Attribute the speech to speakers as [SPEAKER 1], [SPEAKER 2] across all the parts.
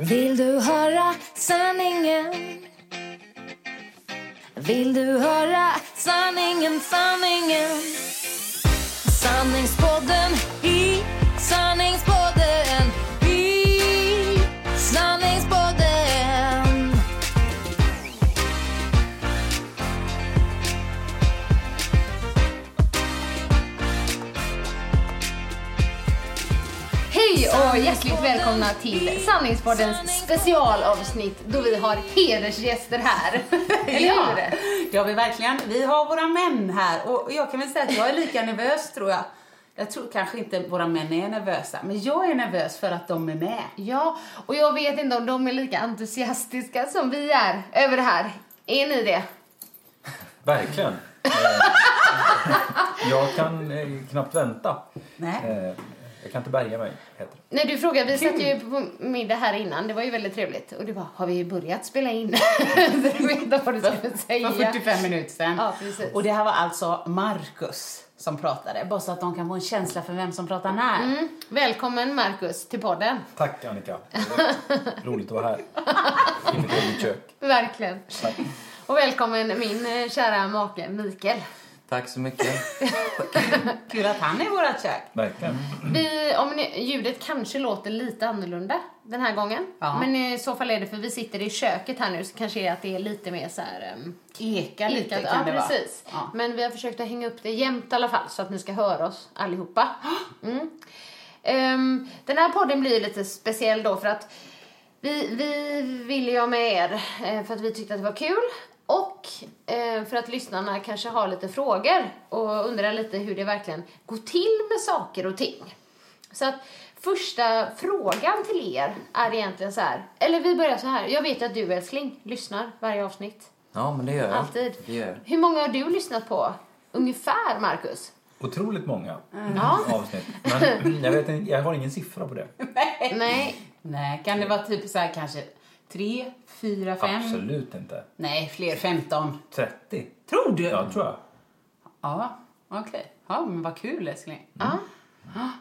[SPEAKER 1] Vill du höra sanningen? Vill du höra sanningen, sanningen? Sanningspodden i sanningspodden i sanningspodden
[SPEAKER 2] Hej och hjärtligt välkomna till Sanningspoddens specialavsnitt då vi har hedersgäster här. Eller
[SPEAKER 3] Ja,
[SPEAKER 2] hur?
[SPEAKER 3] ja vi verkligen. Vi har våra män här och jag kan väl säga att jag är lika nervös tror jag. Jag tror kanske inte våra män är nervösa, men jag är nervös för att de är med.
[SPEAKER 2] Ja, och jag vet inte om de är lika entusiastiska som vi är över det här. Är ni det?
[SPEAKER 4] Verkligen. Eh, jag kan eh, knappt vänta.
[SPEAKER 3] Nej.
[SPEAKER 4] Eh, jag kan inte bärga mig, heter det.
[SPEAKER 2] När du frågade, vi satt ju på middag här innan, det var ju väldigt trevligt. Och du bara, har vi börjat spela in? du vet inte vad du skulle
[SPEAKER 3] Det
[SPEAKER 2] säga.
[SPEAKER 3] var 45 minuter sedan.
[SPEAKER 2] Ja, precis.
[SPEAKER 3] och det här var alltså Marcus som pratade, bara så att de kan få en känsla för vem som pratar när.
[SPEAKER 2] Mm. Välkommen Marcus till podden.
[SPEAKER 4] Tack Annika. Roligt att vara här. I mitt eget kök.
[SPEAKER 2] Verkligen.
[SPEAKER 4] Tack.
[SPEAKER 2] Och välkommen min eh, kära make Mikael.
[SPEAKER 5] Tack så mycket.
[SPEAKER 3] Kul att han är i vårat kök.
[SPEAKER 4] Verkligen.
[SPEAKER 2] Vi, om ni, ljudet kanske låter lite annorlunda den här gången.
[SPEAKER 3] Ja.
[SPEAKER 2] Men i så fall är det för vi sitter i köket här nu så kanske är att det är lite mer så här... Um,
[SPEAKER 3] Eka lite
[SPEAKER 2] ekat.
[SPEAKER 3] kan
[SPEAKER 2] ja,
[SPEAKER 3] det vara.
[SPEAKER 2] precis.
[SPEAKER 3] Ja.
[SPEAKER 2] Men vi har försökt att hänga upp det jämnt i alla fall så att ni ska höra oss allihopa. Mm. Ehm, den här podden blir lite speciell då för att vi, vi ville ju ha med er eh, för att vi tyckte att det var kul och eh, för att lyssnarna kanske har lite frågor och undrar lite hur det verkligen går till med saker och ting. Så att första frågan till er är egentligen så här, eller vi börjar så här. Jag vet att du älskling lyssnar varje avsnitt.
[SPEAKER 5] Ja, men det gör jag.
[SPEAKER 2] Alltid.
[SPEAKER 5] Det gör jag.
[SPEAKER 2] Hur många har du lyssnat på? Ungefär, Marcus?
[SPEAKER 4] Otroligt många
[SPEAKER 2] Ja.
[SPEAKER 4] avsnitt. Men mm, jag, vet, inte- jag har ingen siffra på det.
[SPEAKER 2] Nej.
[SPEAKER 3] Nej, kan det vara typ så här kanske tre, fyra, fem?
[SPEAKER 4] Absolut inte.
[SPEAKER 3] Nej, fler, 15.
[SPEAKER 4] 30?
[SPEAKER 3] Tror du?
[SPEAKER 4] Ja, tror jag.
[SPEAKER 3] Ja, okej. Ja, men vad kul älskling.
[SPEAKER 2] Ja.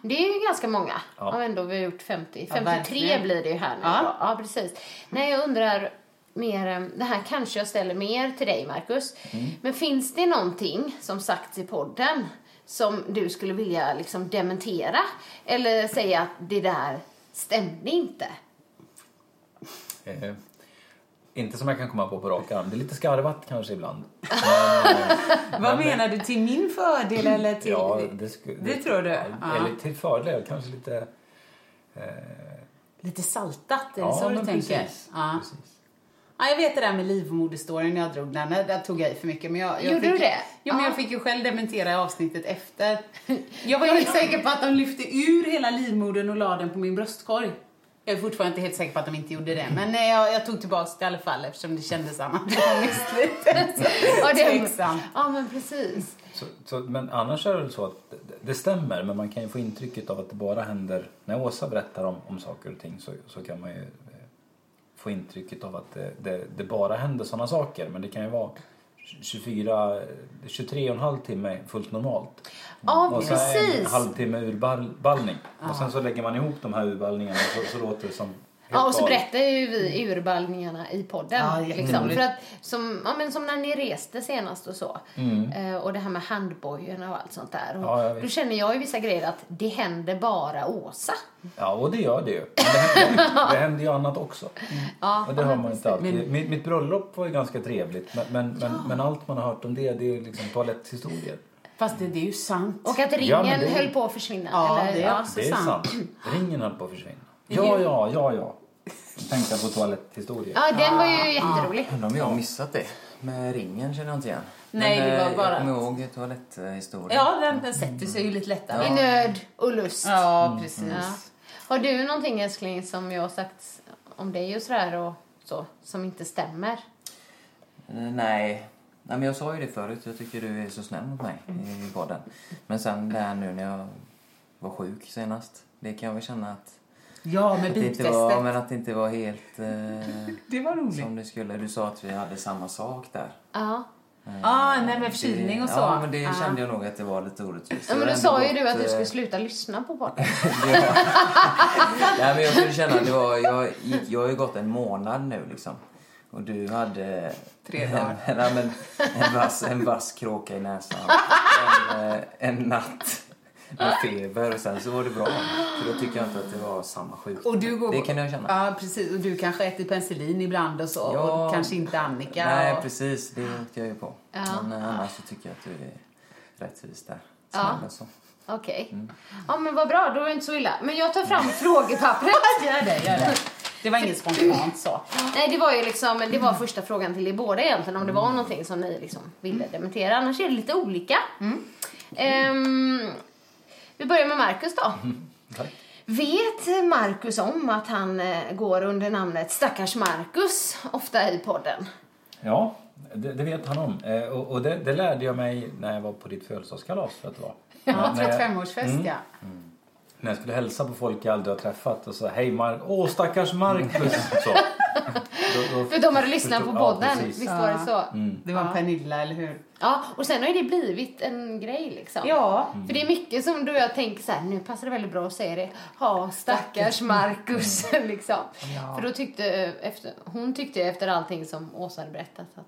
[SPEAKER 2] Det är ju ganska många.
[SPEAKER 4] Ja.
[SPEAKER 2] Om ändå vi har gjort 50.
[SPEAKER 3] Ja,
[SPEAKER 2] 53
[SPEAKER 3] verkligen.
[SPEAKER 2] blir det ju här nu.
[SPEAKER 3] Ja.
[SPEAKER 2] ja, precis. Nej, jag undrar mer... eh, Det här kanske jag ställer mer till dig, Marcus.
[SPEAKER 5] Mm.
[SPEAKER 2] Men finns det någonting som sagts i podden som du skulle vilja liksom dementera? Eller säga att det där stämde inte?
[SPEAKER 4] Eh, inte som jag kan komma på på rak arm. Det är lite skarvat kanske ibland. eh,
[SPEAKER 3] Vad menar du? Till min fördel eller till...
[SPEAKER 4] Ja, det, sku-
[SPEAKER 3] det tror du?
[SPEAKER 4] Ja.
[SPEAKER 3] Ja.
[SPEAKER 4] Eller till fördel, kanske lite...
[SPEAKER 3] Lite saltat, är det
[SPEAKER 4] Ja,
[SPEAKER 3] så du
[SPEAKER 4] men
[SPEAKER 3] tänker?
[SPEAKER 4] precis.
[SPEAKER 3] Ja.
[SPEAKER 4] precis.
[SPEAKER 3] ja, jag vet det där med livmoderstoryn jag drog den. Där tog jag i för mycket. Men jag, jag
[SPEAKER 2] Gjorde
[SPEAKER 3] fick,
[SPEAKER 2] du det?
[SPEAKER 3] Jo, men
[SPEAKER 2] Ja.
[SPEAKER 3] jag fick ju själv dementera i avsnittet efter. Jag var helt säker på att de lyfte ur hela livmodern och la den på min bröstkorg. Jag är fortfarande inte helt säker på att de inte gjorde det. Men eh, jag, jag tog tillbaka det i alla fall eftersom det kändes anatomiskt lite
[SPEAKER 2] Ja, det-
[SPEAKER 3] tveksamt.
[SPEAKER 2] Ja, men precis.
[SPEAKER 4] Så, så, men annars är det väl så att det, det stämmer, men man kan ju få intrycket av att det bara händer... När Åsa berättar om, om saker och ting så, så kan man ju eh, få intrycket av att det, det, det bara händer sådana saker. Men det kan ju vara 24, 23 och en halv timme fullt normalt.
[SPEAKER 5] Mm.
[SPEAKER 2] Ja,
[SPEAKER 4] och sen en
[SPEAKER 2] precis.
[SPEAKER 4] halvtimme urballning. Och sen så lägger man ihop de här urballningarna så, så låter det som... helt
[SPEAKER 2] Ja, och så
[SPEAKER 4] galet.
[SPEAKER 2] berättar ju vi urballningarna i podden.
[SPEAKER 3] Ja,
[SPEAKER 2] liksom.
[SPEAKER 3] jätteroligt.
[SPEAKER 2] För att, som, ja, men som när ni reste senast och så. Eh, och det här med handbojorna och allt sånt där. Och
[SPEAKER 4] Mm. Ja, jag vet.
[SPEAKER 2] då känner jag ju vissa grejer att det händer bara Åsa.
[SPEAKER 4] Ja, och det gör det ju. Men det händer ju, det händer ju annat också.
[SPEAKER 2] Ja,
[SPEAKER 4] och det hör man inte alltid. Mitt, mitt bröllop var ju ganska trevligt, men, men, men, men allt man har hört om det, det är ju liksom toaletthistorier.
[SPEAKER 3] Fast det, det är ju sant.
[SPEAKER 2] Och att ringen
[SPEAKER 4] Ja, men det-
[SPEAKER 2] höll på att försvinna.
[SPEAKER 3] Ja,
[SPEAKER 2] eller,
[SPEAKER 3] det är också
[SPEAKER 4] Det är sant. Ringen höll på att försvinna. Ja, ja, ja, ja. Tänkte jag på toaletthistorier.
[SPEAKER 2] ja den var ju jätterolig.
[SPEAKER 5] Undrar om jag har missat det. Med ringen känner jag inte igen.
[SPEAKER 3] Nej,
[SPEAKER 5] men,
[SPEAKER 3] det var
[SPEAKER 5] eh,
[SPEAKER 3] bara-
[SPEAKER 5] Jag kommer ihåg toaletthistorien.
[SPEAKER 3] Ja, den, den sätter sig ju lite lättare.
[SPEAKER 4] Mm,
[SPEAKER 2] I nöd och lust.
[SPEAKER 3] Ja, precis.
[SPEAKER 2] Har du någonting älskling som jag har sagt om dig och sådär och så, som inte stämmer?
[SPEAKER 5] Eh, Nej. Nej, men jag sa ju det förut. Jag tycker du är så snäll mot mig i podden. Men sen det här nu när jag var sjuk senast. Det kan jag väl känna att,
[SPEAKER 3] Ja, med
[SPEAKER 5] att, det, inte var,
[SPEAKER 3] bitfästet.
[SPEAKER 5] men att det inte var helt eh,
[SPEAKER 3] Det var roligt.
[SPEAKER 5] som det skulle. Du sa att vi hade samma sak där.
[SPEAKER 2] Ja.
[SPEAKER 3] Ah, nej, med förkylning och så.
[SPEAKER 5] Det, ja, men det kände jag nog att det var lite orättvist.
[SPEAKER 2] Ja,
[SPEAKER 5] Jag
[SPEAKER 2] men
[SPEAKER 5] har
[SPEAKER 2] då sa
[SPEAKER 5] ändå
[SPEAKER 2] ju
[SPEAKER 5] gått,
[SPEAKER 2] du att du
[SPEAKER 5] eh,
[SPEAKER 2] skulle sluta lyssna på podden.
[SPEAKER 5] ja. Nej, men jag kunde känna att det var, jag, gick, jag har ju gått en månad nu liksom. Och du hade...
[SPEAKER 3] Tre dagar.
[SPEAKER 5] En, nej, men en, vass, en vass kråka i näsan. En, eh, en natt med
[SPEAKER 3] Ah.
[SPEAKER 5] feber och sen så var det bra. För då tycker jag inte att det var samma sjukdom.
[SPEAKER 3] Och du går...
[SPEAKER 5] Det kan jag känna.
[SPEAKER 3] Ja, precis. Och du kanske äter penicillin ibland och så.
[SPEAKER 5] Ja.
[SPEAKER 3] Och kanske inte Annika.
[SPEAKER 5] Nej,
[SPEAKER 3] och...
[SPEAKER 5] precis. Det åkte jag ju på. Men eh, annars så tycker jag att du är rättvis där. Snäll och så.
[SPEAKER 2] Okej.
[SPEAKER 3] Mm.
[SPEAKER 2] Ja, men vad bra. Då är det inte så illa. Men jag tar fram frågepappret.
[SPEAKER 3] Gör det, gör det. Det var inget spontant så.
[SPEAKER 2] Nej, det var ju liksom, det var första frågan till er båda egentligen, om det
[SPEAKER 3] Mm.
[SPEAKER 2] var någonting som ni liksom ville dementera. Annars är det lite olika.
[SPEAKER 3] Mm.
[SPEAKER 2] Ehm, vi börjar med Marcus då.
[SPEAKER 3] Mm.
[SPEAKER 4] Tack.
[SPEAKER 2] Vet Marcus om att han eh, går under namnet Stackars Marcus ofta i podden?
[SPEAKER 4] Ja, det, det vet han om. Eh, och och det, det lärde jag mig när jag var på ditt födelsedagskalas för att det var.
[SPEAKER 3] Ja,
[SPEAKER 4] när, jag,
[SPEAKER 3] 35-årsfest, ja.
[SPEAKER 5] Mm.
[SPEAKER 4] när jag skulle hälsa på folk jag aldrig har träffat och sa hej Mark, åh stackars Marcus. Så. Då, då
[SPEAKER 2] För de hade lyssnat på
[SPEAKER 4] förstod-
[SPEAKER 2] podden,
[SPEAKER 4] Ja, precis.
[SPEAKER 2] visst var det så?
[SPEAKER 5] Mm.
[SPEAKER 3] Det var Pernilla, eller hur?
[SPEAKER 2] Ja, och sen har ju det blivit en grej liksom.
[SPEAKER 3] Ja.
[SPEAKER 2] För det är mycket som du och jag tänker så här, nu passar det väldigt bra att säga det. Ja, stackars Marcus liksom. För då tyckte eh, efter, hon tyckte efter allting som Åsa hade berättat att,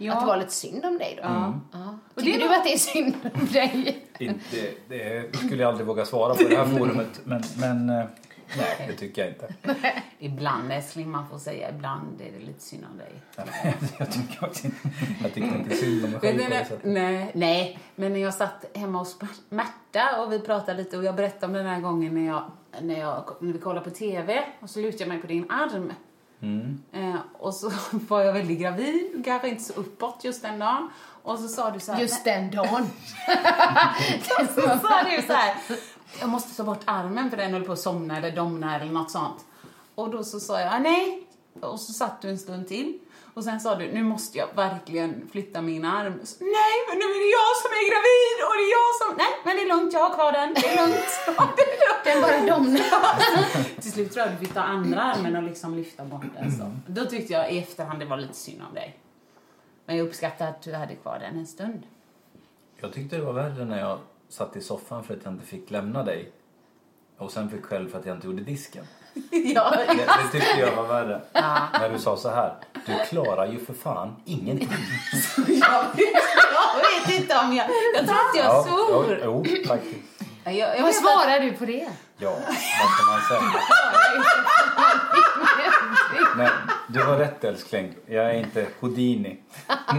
[SPEAKER 3] Ja.
[SPEAKER 2] att det var lite synd om dig då. Ja.
[SPEAKER 3] Mm. Och
[SPEAKER 2] Tycker
[SPEAKER 3] det
[SPEAKER 2] du att det är synd om dig?
[SPEAKER 4] Inte, det skulle jag aldrig våga svara på i det här forumet. Men, men eh, nej, det tycker jag inte.
[SPEAKER 3] Ibland, älskling, man får säga. Ibland är det lite synd om dig.
[SPEAKER 4] Jag tycker också inte, jag tyckte inte synd om mig
[SPEAKER 3] Vet
[SPEAKER 4] själv
[SPEAKER 3] ni
[SPEAKER 4] på det
[SPEAKER 3] när,
[SPEAKER 4] sättet.
[SPEAKER 3] nej, nej, men när jag satt hemma hos Märta och vi pratade lite och jag berättade om den här gången när, jag, när, jag, när vi kollade på TV och så lutade jag mig på din arm.
[SPEAKER 4] Mm.
[SPEAKER 3] Eh, och så var jag väldigt gravid, kanske inte så uppåt just den dagen. Och så sa du så här,
[SPEAKER 2] Just den dagen.
[SPEAKER 3] så sa du så här, jag måste ta bort armen för den höll på att somna eller domna eller något sånt. Och då så sa jag, "Ah, nej. Och så satt du en stund till. Och sen sa du, nu måste jag verkligen flytta min arm. Så, nej, men nu är det jag som är gravid och det är jag som... Nej, men det är lugnt, jag har kvar den. Det är lugnt. det är
[SPEAKER 2] Den
[SPEAKER 3] lugnt.
[SPEAKER 2] bara domnar.
[SPEAKER 3] Till slut tror jag du fick ta andra armen och liksom lyfta bort den. Så. Då tyckte jag i efterhand det var lite synd om dig. Men jag uppskattar att du hade kvar den en stund.
[SPEAKER 4] Jag tyckte det var värre när jag satt i soffan för att jag inte fick lämna dig. Och sen fick skäll för att jag inte gjorde disken.
[SPEAKER 3] ja,
[SPEAKER 4] Det, det tyckte jag var värre. När du sa så här. Du klarar ju för fan ingenting.
[SPEAKER 3] Jag vet, jag vet inte om jag... Jag tror inte jag svor.
[SPEAKER 4] ja, jo, faktiskt.
[SPEAKER 3] Jag, jag
[SPEAKER 2] Vad
[SPEAKER 3] vet att-
[SPEAKER 2] svarar du på det?
[SPEAKER 4] Ja, vad ska man säga? Nej, du har rätt älskling. Jag är inte Houdini.
[SPEAKER 3] Ja,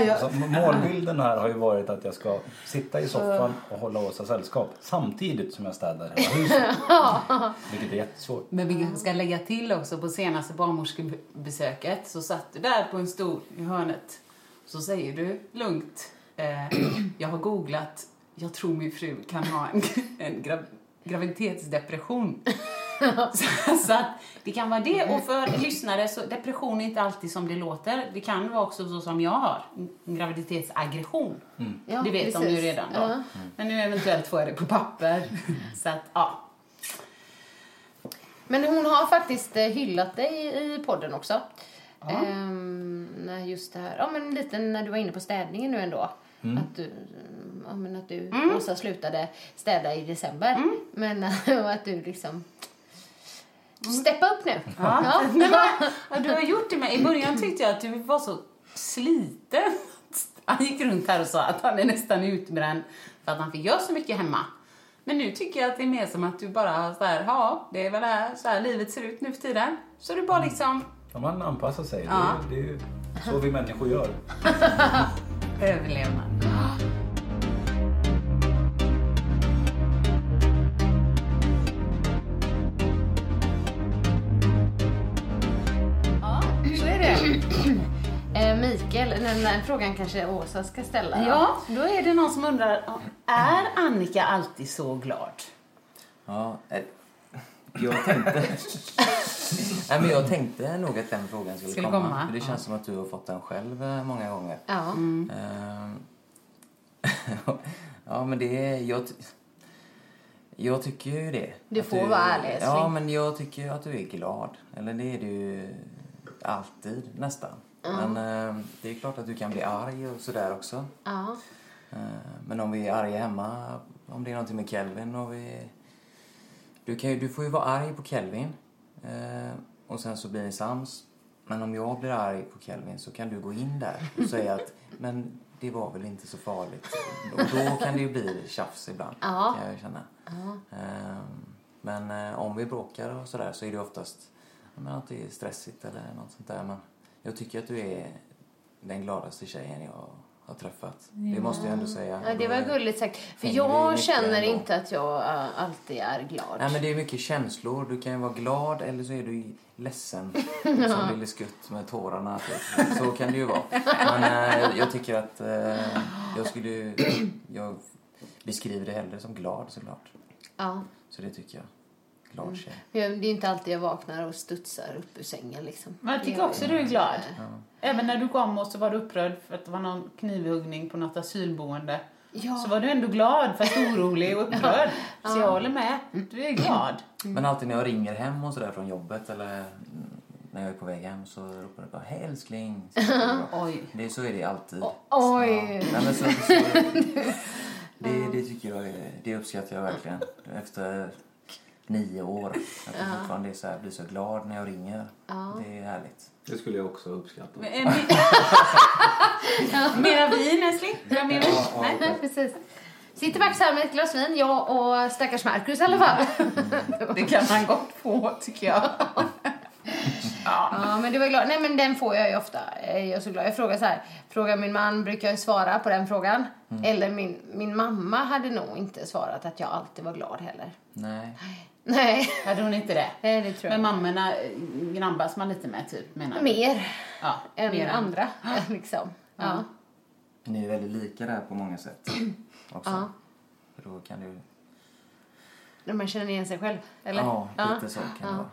[SPEAKER 3] jag-
[SPEAKER 4] Alltså, m- målbilden här har ju varit att jag ska sitta i soffan och hålla Åsa sällskap samtidigt som jag städar hela huset. Vilket är jättesvårt.
[SPEAKER 3] Men vi ska lägga till också, på senaste barnmorskebesöket så satt du där på en stol i hörnet. Så säger du lugnt, eh, jag har googlat, jag tror min fru kan ha en, en gra, graviditetsdepression. så, så att det kan vara det. Och för lyssnare, så depression är inte alltid som det låter. Det kan vara också så som jag har, en graviditetsaggression.
[SPEAKER 2] Ja,
[SPEAKER 3] det vet de
[SPEAKER 2] precis.
[SPEAKER 3] ju redan då.
[SPEAKER 2] Ja.
[SPEAKER 3] Men nu eventuellt får jag det på papper. så att, ja.
[SPEAKER 2] Men hon har faktiskt eh, hyllat dig i podden också. Ehm, när just det här, ja men lite när du var inne på städningen nu ändå. Att du, ja, men att du Åsa slutade städa i december. Men och att du liksom steppa upp nu.
[SPEAKER 3] Ja. Nej, men, ja, du har gjort det med. I början tyckte jag att du var så sliten. Han gick runt här och sa att han är nästan utbränd för att han fick göra så mycket hemma. Men nu tycker jag att det är mer som att du bara så här, ja, det är väl här, så här livet ser ut nu för tiden. Så du bara liksom
[SPEAKER 4] Ja, Man anpassar sig. Det, är- det är ju så vi människor gör.
[SPEAKER 3] överlevnad.
[SPEAKER 2] Så är det. Eh, Mikael, den där frågan kanske Åsa ska ställa. då.
[SPEAKER 3] Ja, då är det någon som undrar, är Annika alltid så glad?
[SPEAKER 5] Ja, eh, jag tänkte... Nej, men jag tänkte nog att den frågan skulle,
[SPEAKER 3] Skulle
[SPEAKER 5] komma.
[SPEAKER 3] komma,
[SPEAKER 5] För det
[SPEAKER 3] ja.
[SPEAKER 5] känns som att du har fått den själv eh, många gånger.
[SPEAKER 2] Ja.
[SPEAKER 5] Ehm, ja, men det är... Jag, ty- jag tycker ju det.
[SPEAKER 2] Du
[SPEAKER 5] Att
[SPEAKER 2] får vara ärlig, älskling.
[SPEAKER 5] Ja, men jag tycker ju att du är glad. Eller det är du ju alltid, nästan. Men eh, det är klart att du kan bli arg och sådär också.
[SPEAKER 2] ja.
[SPEAKER 5] Eh, Men om vi är arga hemma, om det är någonting med Kelvin och vi... Du, kan ju, du får ju vara arg på Kelvin eh, och sen så blir ni sams. Men om jag blir arg på Kelvin så kan du gå in där och säga att men det var väl inte så farligt. Och då kan det ju bli tjafs ibland,
[SPEAKER 2] Ja.
[SPEAKER 5] kan jag ju känna. Eh, Men eh, om vi bråkar och sådär så är det oftast ja, men att det är stressigt eller något sånt där. Men jag tycker att du är den gladaste tjejen jag har träffat. Det måste jag ändå säga.
[SPEAKER 2] Ja, det var gulligt sagt. För
[SPEAKER 5] Hänger vi
[SPEAKER 2] jag
[SPEAKER 5] mycket
[SPEAKER 2] känner
[SPEAKER 5] ändå?
[SPEAKER 2] inte att jag eh, alltid är glad.
[SPEAKER 5] Nej men det är mycket känslor. Du kan ju vara glad eller så är du ledsen. som Lille Skutt med tårarna. Typ. Så kan det ju vara. Men eh, jag tycker att eh, jag skulle ju- Jag beskriver det hellre som glad såklart.
[SPEAKER 2] Ja.
[SPEAKER 5] Så det tycker jag. Glad tjej.
[SPEAKER 2] Men jag- Det är inte alltid jag vaknar och studsar upp ur sängen liksom.
[SPEAKER 3] Men jag tycker
[SPEAKER 2] Jag-
[SPEAKER 3] också du är glad. Även när du kom och så var du upprörd för att det var någon knivhuggning på något asylboende.
[SPEAKER 2] Ja.
[SPEAKER 3] Så var du ändå glad fast orolig och upprörd. Så jag håller med. Du är glad.
[SPEAKER 5] Men alltid när jag ringer hem och sådär från jobbet eller mm, när jag är på väg hem så ropar jag bara Hej älskling! Så det är bra.
[SPEAKER 3] Oj.
[SPEAKER 5] Det, så är det alltid.
[SPEAKER 2] oj.
[SPEAKER 5] Ja. Nej, men så, så, det, det tycker jag är, det uppskattar jag verkligen. Efter nio år. Att jag fortfarande är så här, blir så glad när jag ringer. Det är härligt.
[SPEAKER 4] Det skulle jag också uppskatta.
[SPEAKER 3] Men, eh, ni- Mera vin älskling? Vill du ha mer vin? Nej.
[SPEAKER 2] Nej, precis. Sitter faktiskt här med ett glas vin, jag och stackars Marcus i alla fall.
[SPEAKER 5] Mm.
[SPEAKER 3] Det kan man gott få tycker jag.
[SPEAKER 2] Ja, men du var glad. Nej, men den får jag ju ofta. Eh, Jag är så glad. Jag frågar så här, frågar min man brukar jag svara på den frågan.
[SPEAKER 5] Mm.
[SPEAKER 2] Eller min, min mamma hade nog inte svarat att jag alltid var glad heller.
[SPEAKER 5] Nej.
[SPEAKER 2] Nej,
[SPEAKER 3] Hade hon inte det?
[SPEAKER 2] Nej, det tror jag
[SPEAKER 3] Eh, Men mammorna eh, grabbas man lite med typ
[SPEAKER 2] inte.
[SPEAKER 3] menar du?
[SPEAKER 2] Mer
[SPEAKER 3] Ja,
[SPEAKER 2] än
[SPEAKER 3] mer än
[SPEAKER 2] andra, liksom. Ja.
[SPEAKER 5] Ni är väldigt lika där på många sätt. Också.
[SPEAKER 2] Ja.
[SPEAKER 5] För Då kan du...
[SPEAKER 2] När man känner igen sig själv, eller?
[SPEAKER 5] Ja, lite så kan det vara.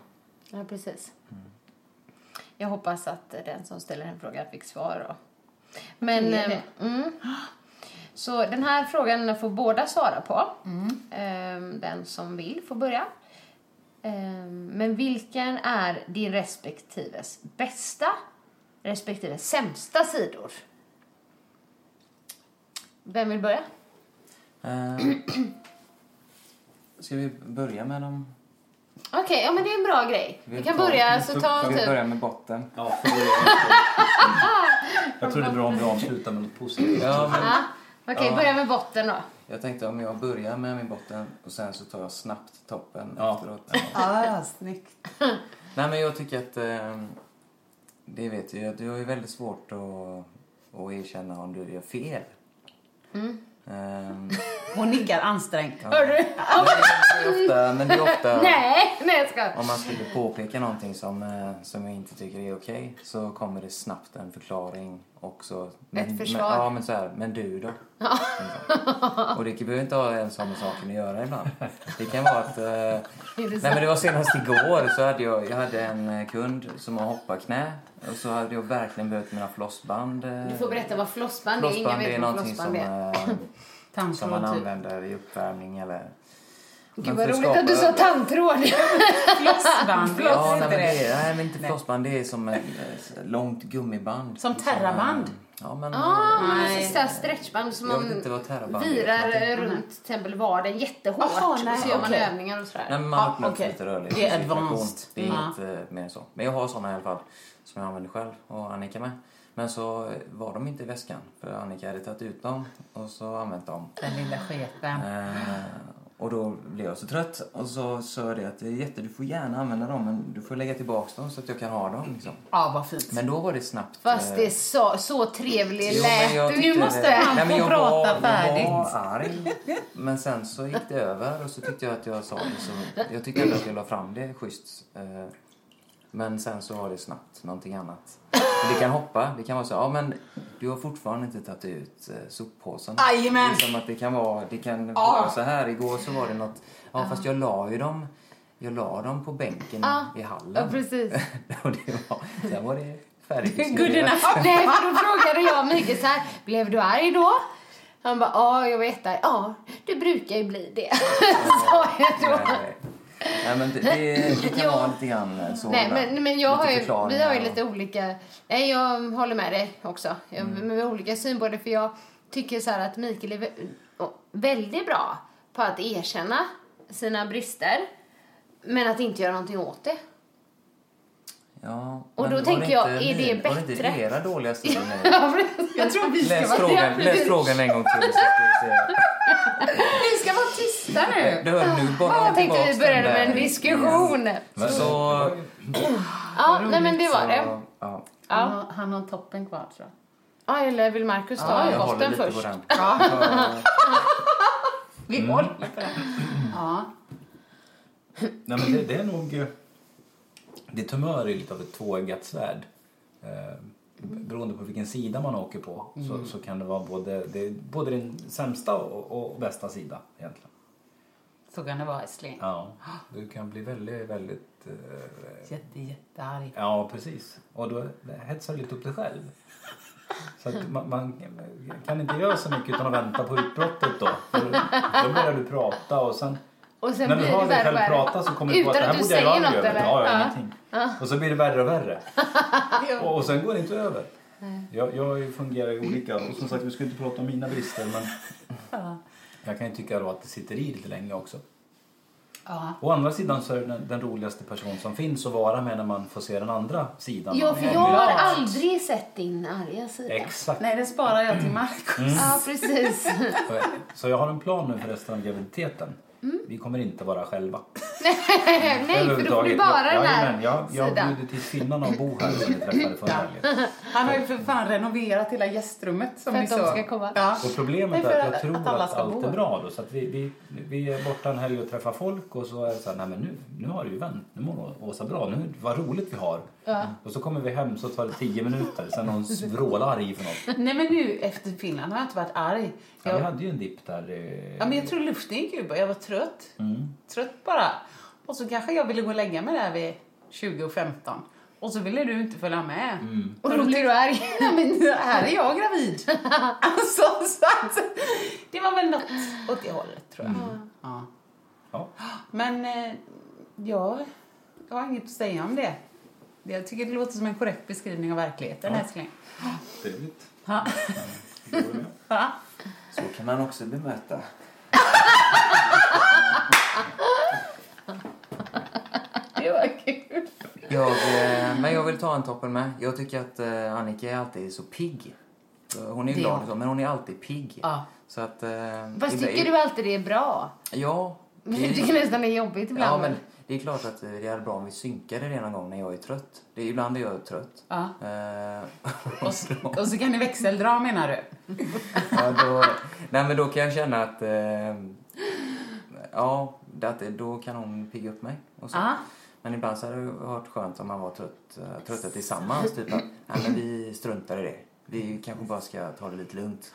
[SPEAKER 2] Ja, precis. Mm. Jag hoppas att den som ställer den frågan fick svar då. Men,
[SPEAKER 3] Det är det.
[SPEAKER 2] eh, mm. Så den här frågan får båda svara på. Ehm, Den som vill får börja. Ehm, Men vilken är din respektives bästa respektive sämsta sidor? Vem vill börja?
[SPEAKER 5] Eh, ska vi börja med dem?
[SPEAKER 2] Okej, ja men det är en bra grej. Vi kan
[SPEAKER 5] tar-
[SPEAKER 2] börja, så ta
[SPEAKER 5] Ska vi
[SPEAKER 2] typ...
[SPEAKER 5] börja med botten?
[SPEAKER 4] Ja, för det är jag tror det är bra om vi avslutar med något positivt.
[SPEAKER 5] Ja, men
[SPEAKER 2] Ja. Okej,
[SPEAKER 5] Ja.
[SPEAKER 2] börja med botten då.
[SPEAKER 5] jag tänkte om jag börjar med min botten och sen så tar jag snabbt toppen
[SPEAKER 4] Ja.
[SPEAKER 5] efteråt.
[SPEAKER 3] Ah, snyggt.
[SPEAKER 5] Nej, men jag tycker att... Eh, det vet jag, du har ju väldigt svårt att, att erkänna om du gör fel. Ehm,
[SPEAKER 3] Hon nickar ansträngt. Hör du?
[SPEAKER 5] det är ofta, men det är ofta...
[SPEAKER 2] Nej, nej jag skojar.
[SPEAKER 5] Om man skulle påpeka någonting som, eh, som jag inte tycker är okej så kommer det snabbt en förklaring också. Men,
[SPEAKER 2] försvar.
[SPEAKER 5] Men, ja, men så här, men du då? Ungefär. Och det behöver inte ha ens ha med saken att göra ibland. Det kan vara att... Eh, nej, men det var senast igår så hade jag, jag hade en eh, kund som har hopparknä och så hade jag verkligen behövt mina flossband. eh,
[SPEAKER 2] Du får berätta vad flossband, är. Ingen
[SPEAKER 5] Flossband
[SPEAKER 2] vet
[SPEAKER 5] är
[SPEAKER 2] vad
[SPEAKER 5] någonting
[SPEAKER 2] flossband
[SPEAKER 5] som,
[SPEAKER 2] är.
[SPEAKER 5] eh, som
[SPEAKER 3] Tandtråd
[SPEAKER 5] man
[SPEAKER 3] typ.
[SPEAKER 5] använder i uppvärmning eller...
[SPEAKER 2] Gud
[SPEAKER 5] Men
[SPEAKER 2] vad
[SPEAKER 5] för
[SPEAKER 2] roligt att du sa
[SPEAKER 5] skapa-
[SPEAKER 2] tandtråd.
[SPEAKER 3] Flossband.
[SPEAKER 5] Ja,
[SPEAKER 3] Floss,
[SPEAKER 5] nej,
[SPEAKER 3] inte
[SPEAKER 5] men
[SPEAKER 3] det.
[SPEAKER 5] det, nej, men inte flossband. Det är som ett eh, långt gummiband.
[SPEAKER 3] Som terraband.
[SPEAKER 5] Ja, men...
[SPEAKER 2] Ah,
[SPEAKER 5] eh,
[SPEAKER 2] men så här stretchband som
[SPEAKER 5] Jag
[SPEAKER 2] man
[SPEAKER 5] vet inte vad terraband är för
[SPEAKER 2] virar
[SPEAKER 5] någonting.
[SPEAKER 2] runt till exempel vaden jättehårt.
[SPEAKER 3] Aha,
[SPEAKER 2] och
[SPEAKER 3] nej,
[SPEAKER 2] så gör man
[SPEAKER 3] okej.
[SPEAKER 2] övningar och sådär.
[SPEAKER 5] Nej, men man
[SPEAKER 3] Ah,
[SPEAKER 5] öppnar upp
[SPEAKER 3] okej.
[SPEAKER 5] lite rörlighet.
[SPEAKER 3] Det är
[SPEAKER 5] och cirkulation.
[SPEAKER 3] advanced.
[SPEAKER 5] Det är
[SPEAKER 3] Mm.
[SPEAKER 5] inget eh, mer än så. Men jag har såna i alla fall som jag använder själv och Annika med. Men så eh, var de inte i väskan för Annika hade tagit ut dem och så använt dem.
[SPEAKER 3] Den lilla sketen.
[SPEAKER 5] Eh, och då blev jag så trött och så sa jag det att det är jätte, du får gärna använda dem men du får lägga tillbaka dem så att jag kan ha dem liksom.
[SPEAKER 3] Ja, vad fint.
[SPEAKER 5] Men då var det snabbt.
[SPEAKER 2] Fast
[SPEAKER 5] eh,
[SPEAKER 2] det är så, så trevlig
[SPEAKER 5] Jo, men
[SPEAKER 2] lät
[SPEAKER 5] jag
[SPEAKER 2] du.
[SPEAKER 5] tyckte
[SPEAKER 2] Nu
[SPEAKER 3] måste
[SPEAKER 5] det-
[SPEAKER 3] han
[SPEAKER 5] Nej, men
[SPEAKER 3] få
[SPEAKER 5] jag
[SPEAKER 3] prata
[SPEAKER 5] var,
[SPEAKER 3] färdigt.
[SPEAKER 5] Jag var arg, men sen så gick det över och så tyckte jag att jag sa det. Så jag tyckte ändå att jag la fram det schysst. eh, Men sen så var det snabbt någonting annat. Och det kan hoppa. Det kan vara så ja men du har fortfarande inte tagit ut eh, soppåsen.
[SPEAKER 3] Jajamän.
[SPEAKER 5] Det är som att det kan vara, det kan
[SPEAKER 3] Ja.
[SPEAKER 5] vara så här. Igår så var det något Ja, fast jag la ju dem, jag la dem på bänken
[SPEAKER 2] Ja.
[SPEAKER 5] i hallen.
[SPEAKER 2] Ja, precis.
[SPEAKER 5] och det var, sen var det färdigt.
[SPEAKER 2] Good enough. Nej, för då frågade jag Mikael så här, blev du arg då? Han bara, ja, jag var jättearg. Ja, du brukar ju bli det. Sa jag då.
[SPEAKER 5] Nej, nej, men det, det, det kan
[SPEAKER 2] Jo.
[SPEAKER 5] vara lite grann så.
[SPEAKER 2] Nej,
[SPEAKER 5] ibland.
[SPEAKER 2] men, men jag
[SPEAKER 5] Lite
[SPEAKER 2] har ju, vi
[SPEAKER 5] förklaringar
[SPEAKER 2] har ju
[SPEAKER 5] och- Mm.
[SPEAKER 2] lite olika... Nej, jag håller med dig också. Jag, Men vi har olika syn på det, för jag tycker så här att Mikael är vä- och- väldigt bra på att erkänna sina brister, men att inte göra någonting åt det.
[SPEAKER 5] Ja,
[SPEAKER 2] Och
[SPEAKER 5] men
[SPEAKER 2] då
[SPEAKER 5] var
[SPEAKER 2] tänker jag,
[SPEAKER 5] inte
[SPEAKER 2] är det
[SPEAKER 5] ni- Var det
[SPEAKER 2] bättre?
[SPEAKER 5] inte era dåliga sidor nu?
[SPEAKER 2] Ja, precis.
[SPEAKER 3] Jag tror vi ska
[SPEAKER 5] Läs
[SPEAKER 3] vara...
[SPEAKER 5] frågan, läs frågan en gång till. Så ska vi se.
[SPEAKER 3] Vi ska vara tysta nu.
[SPEAKER 5] Det hör nu bara
[SPEAKER 2] jag tänkte
[SPEAKER 5] tillbaks
[SPEAKER 2] vi började
[SPEAKER 5] den där-
[SPEAKER 2] med en diskussion.
[SPEAKER 4] Men-
[SPEAKER 5] Så-
[SPEAKER 2] Ja, nej men det var
[SPEAKER 5] Så,
[SPEAKER 2] det.
[SPEAKER 5] Ja,
[SPEAKER 3] Han, har, han har toppen kvar, tror jag.
[SPEAKER 2] Ja, eller vill Marcus ta
[SPEAKER 5] jag
[SPEAKER 2] bort
[SPEAKER 5] håller
[SPEAKER 2] den
[SPEAKER 5] lite
[SPEAKER 2] först?
[SPEAKER 5] på den.
[SPEAKER 3] Vi
[SPEAKER 5] Mm.
[SPEAKER 3] håller på den. Ja.
[SPEAKER 4] Nej, men det, det är nog... eh, Ditt humör är lite av ett tvåeggat svärd. Eh, beroende på vilken sida man åker på så, så kan det vara både, det, är både din sämsta och, och bästa sida egentligen.
[SPEAKER 3] Så kan det vara, älskling.
[SPEAKER 4] Ja, du kan bli väldigt, väldigt... eh,
[SPEAKER 3] Jätte, jättearg.
[SPEAKER 4] Ja, precis. Och då hetsar du lite upp dig själv. Så att man, man kan inte göra så mycket utan att vänta på utbrottet då. För då börjar du prata och sen...
[SPEAKER 2] Och sen
[SPEAKER 4] när du
[SPEAKER 2] blir
[SPEAKER 4] hör
[SPEAKER 2] det värre
[SPEAKER 4] dig själv
[SPEAKER 2] och värre.
[SPEAKER 4] prata så kommer du på att
[SPEAKER 2] Utan
[SPEAKER 4] det här
[SPEAKER 2] att du
[SPEAKER 4] borde jag ju
[SPEAKER 2] säger
[SPEAKER 4] aldrig
[SPEAKER 2] något,
[SPEAKER 4] göra.
[SPEAKER 2] eller?
[SPEAKER 4] Ja,
[SPEAKER 2] Ja.
[SPEAKER 4] ja, ingenting. Och så blir det värre och värre. Och, och sen går det inte över. Jag, jag fungerar ju olika. Och som sagt, vi ska inte prata om mina brister men... Jag kan ju tycka då att det sitter i lite länge också.
[SPEAKER 3] Ja.
[SPEAKER 4] Å andra sidan så är det den, den roligaste person som finns att vara med när man får se den andra sidan.
[SPEAKER 2] Ja,
[SPEAKER 4] av
[SPEAKER 2] för
[SPEAKER 4] det.
[SPEAKER 2] jag har aldrig sett din arga sida.
[SPEAKER 4] Exakt.
[SPEAKER 3] Nej, det sparar jag till Marcus.
[SPEAKER 4] Mm.
[SPEAKER 2] Ja, precis.
[SPEAKER 4] Så jag har en plan nu för resten av graviditeten. Vi kommer inte vara själva.
[SPEAKER 2] Mm. Nej, för då får du bara den här
[SPEAKER 4] Jajamän, jag, jag
[SPEAKER 2] sidan.
[SPEAKER 4] bjuder till finnarna och Bo här som vi träffade förra helgen.
[SPEAKER 3] Han har ju för fan renoverat hela gästrummet. Som
[SPEAKER 2] För
[SPEAKER 3] ni
[SPEAKER 2] att de
[SPEAKER 3] såg.
[SPEAKER 2] ska komma.
[SPEAKER 3] Ja.
[SPEAKER 4] Och problemet
[SPEAKER 3] Nej,
[SPEAKER 4] är
[SPEAKER 3] för
[SPEAKER 4] att jag
[SPEAKER 3] att-
[SPEAKER 4] tror
[SPEAKER 3] att
[SPEAKER 4] att,
[SPEAKER 3] alla ska
[SPEAKER 4] allt
[SPEAKER 3] bo.
[SPEAKER 4] är bra då. Så att vi, vi, vi är borta en helg och träffar folk och så är det så här, nej men nu, nu har det ju vänt. Nu mår Å- Åsa bra. Nu, vad roligt vi har. Och så kommer vi hem så tar det tio minuter. Sen är hon vrålarg för något.
[SPEAKER 3] Nej, men nu efter Finland har jag inte varit arg.
[SPEAKER 4] Ja,
[SPEAKER 3] Jag,
[SPEAKER 4] vi
[SPEAKER 3] ja,
[SPEAKER 4] hade ju en dipp där. eh,
[SPEAKER 3] men jag tror luften gick ur. bara. Jag var trött.
[SPEAKER 4] Mm.
[SPEAKER 3] Trött bara. Och så kanske jag ville gå och lägga mig där vid 20 och 15. Och så ville du inte följa med.
[SPEAKER 4] Mm.
[SPEAKER 2] Och då blir du arg.
[SPEAKER 3] Nej, men här är jag gravid. alltså, så att, det var väl något åt det hållet, tror jag.
[SPEAKER 4] Mm.
[SPEAKER 3] Ja.
[SPEAKER 4] Ja.
[SPEAKER 3] Men eh, jag, jag har inget att säga om det. Jag tycker det låter som en korrekt beskrivning av verkligheten,
[SPEAKER 4] Ja.
[SPEAKER 3] älskling.
[SPEAKER 4] Trevligt.
[SPEAKER 3] Ja.
[SPEAKER 4] Då är det.
[SPEAKER 3] Ja.
[SPEAKER 5] Så kan man också bemöta.
[SPEAKER 2] Det var kul.
[SPEAKER 5] Jag, eh, men jag vill ta en toppen med. Jag tycker att eh, Annika är alltid så pigg. Eh, Hon är
[SPEAKER 3] Det är
[SPEAKER 5] glad
[SPEAKER 3] hon.
[SPEAKER 5] och så, men hon är alltid pigg.
[SPEAKER 3] Ja.
[SPEAKER 5] Så att... eh,
[SPEAKER 2] Fast
[SPEAKER 5] ibland-
[SPEAKER 2] tycker du alltid det är bra?
[SPEAKER 5] Ja.
[SPEAKER 2] Men
[SPEAKER 5] det-
[SPEAKER 2] Du tycker nästan det är jobbigt
[SPEAKER 5] Mm. Ja,
[SPEAKER 2] ibland.
[SPEAKER 5] men det är klart att eh, det är bra om vi synkade det någon gång när jag är trött. Det är, ibland är jag trött.
[SPEAKER 3] Ja.
[SPEAKER 5] Eh,
[SPEAKER 3] Och, så, och så kan ni växeldra, menar du?
[SPEAKER 2] Mm.
[SPEAKER 5] ja, då, nej, men då kan jag känna att... Eh, ja, det- att, det- då kan hon pigga upp mig. Och så.
[SPEAKER 3] Ja.
[SPEAKER 5] Men ibland så hade det varit skönt om man var trött, eh, trötta tillsammans. Typ att, nej, men vi struntar i det. Vi kanske bara ska ta det lite lugnt.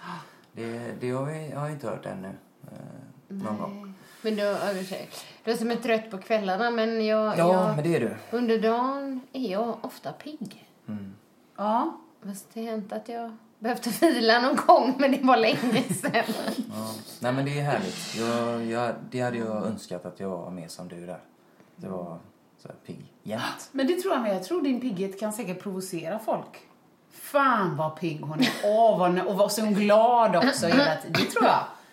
[SPEAKER 5] Det, det har, vi, har jag inte hört ännu. Eh, någon gång.
[SPEAKER 2] Men då, ja, i och för sig. du är som är trött på kvällarna, men jag,
[SPEAKER 5] Ja,
[SPEAKER 2] jag,
[SPEAKER 5] men det är du.
[SPEAKER 2] under dagen är jag ofta pigg.
[SPEAKER 3] Ja.
[SPEAKER 2] Fast det har hänt att jag behövde vila någon gång, men det var länge sedan.
[SPEAKER 5] Ja. Nej men det är härligt. Jag, jag, det hade jag önskat att jag var mer som du där. Det var så här pigg jämt.
[SPEAKER 3] Men det tror jag med. Jag tror din pigghet kan säkert provocera folk. Fan vad pigg hon är. Åh, vad, och vad så glad också hela tiden. Det tror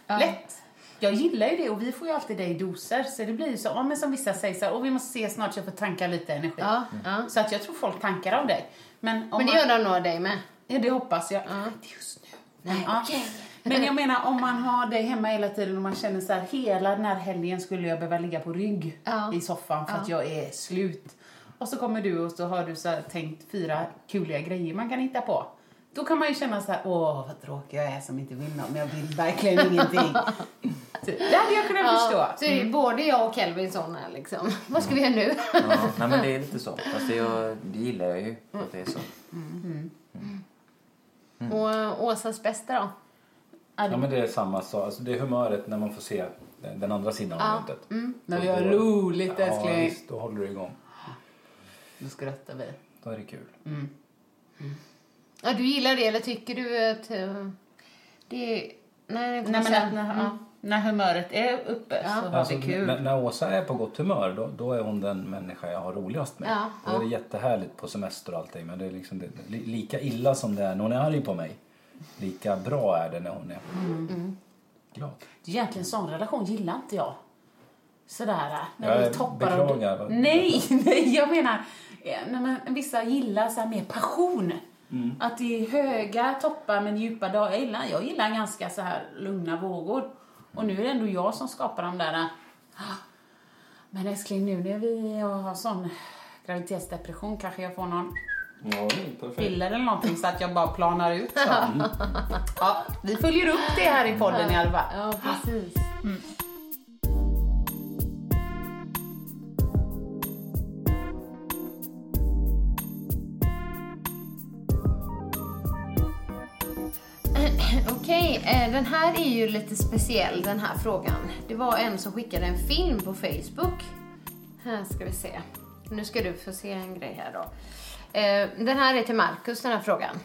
[SPEAKER 3] jag. Lätt. Jag gillar ju det och vi får ju alltid det i doser. Så det blir ju så, ja men som vissa säger så här, "Åh, vi måste ses snart så jag får tanka lite energi.
[SPEAKER 2] Ja, ja.
[SPEAKER 3] Så att jag tror folk tankar av dig. Men, om
[SPEAKER 2] Men det
[SPEAKER 3] man-
[SPEAKER 2] gör de nog dig med.
[SPEAKER 3] Ja, det hoppas jag. Inte just nu. Men, ja. Men jag menar, om man har dig hemma hela tiden och man känner så här, hela den här helgen skulle jag behöva ligga på rygg
[SPEAKER 2] Ja.
[SPEAKER 3] i soffan för att jag är slut. Och så kommer du och så har du så här, tänkt fyra kuliga grejer man kan hitta på. Då kan man ju känna så här, åh vad tråkig jag är som inte vill något, men jag vill verkligen ingenting. Typ. Det hade jag kunnat
[SPEAKER 2] Ja, Mm. så
[SPEAKER 3] förstå.
[SPEAKER 2] är det ju både jag och Kelvin såna liksom. Vad ska vi göra nu?
[SPEAKER 5] Ja, nej men det är lite så. Fast det, jag, det gillar jag ju att det är så.
[SPEAKER 2] Och eh, Åsas bästa då?
[SPEAKER 4] Ja, men det är samma sak. Alltså, det är humöret när man får se eh, den andra sidan av myntet.
[SPEAKER 3] Mm. När
[SPEAKER 4] Och
[SPEAKER 3] vi har
[SPEAKER 4] då-
[SPEAKER 3] roligt
[SPEAKER 4] Ja,
[SPEAKER 3] älskling.
[SPEAKER 4] visst, då håller du igång.
[SPEAKER 3] Då skrattar vi.
[SPEAKER 4] Då är det kul.
[SPEAKER 2] Ja, du gillar det eller tycker du att eh, det är... Nej, det
[SPEAKER 3] Nej, men att
[SPEAKER 2] sen. Mm.
[SPEAKER 3] när,
[SPEAKER 2] Ja.
[SPEAKER 3] när humöret är uppe så har
[SPEAKER 4] Alltså,
[SPEAKER 3] vi kul.
[SPEAKER 4] när, när Åsa är på gott humör då, då är hon den människa jag har roligast med.
[SPEAKER 2] Ja,
[SPEAKER 4] då är det jättehärligt på semester och allting men det är liksom det, li, lika illa som det är när hon är arg på mig. Lika bra är det när hon är glad.
[SPEAKER 3] Det är Egentligen sån relation gillar inte jag. Sådär, äh, när
[SPEAKER 4] Jag
[SPEAKER 3] det är toppar
[SPEAKER 4] beklagar vad-
[SPEAKER 3] Nej, nej, jag menar, eh, när man, vissa gillar så här mer passion.
[SPEAKER 4] Mm.
[SPEAKER 3] Att det är höga toppar men djupa dagar. Jag gillar, jag gillar ganska så här lugna vågor. Och nu är det ändå jag som skapar de där... ah, Men älskling, nu när vi jag har sån graviditetsdepression kanske jag får någon
[SPEAKER 4] Ja, perfekt.
[SPEAKER 3] piller eller någonting så att jag bara planar ut. Så.
[SPEAKER 4] Mm.
[SPEAKER 3] Ja, vi följer upp det här i podden i alla fall.
[SPEAKER 2] Ja, precis. Okej, eh, den här är ju lite speciell den här frågan. Det var en som skickade en film på Facebook. Här ska vi se. Nu ska du få se en grej här då. Eh, Den här är till Markus den här frågan.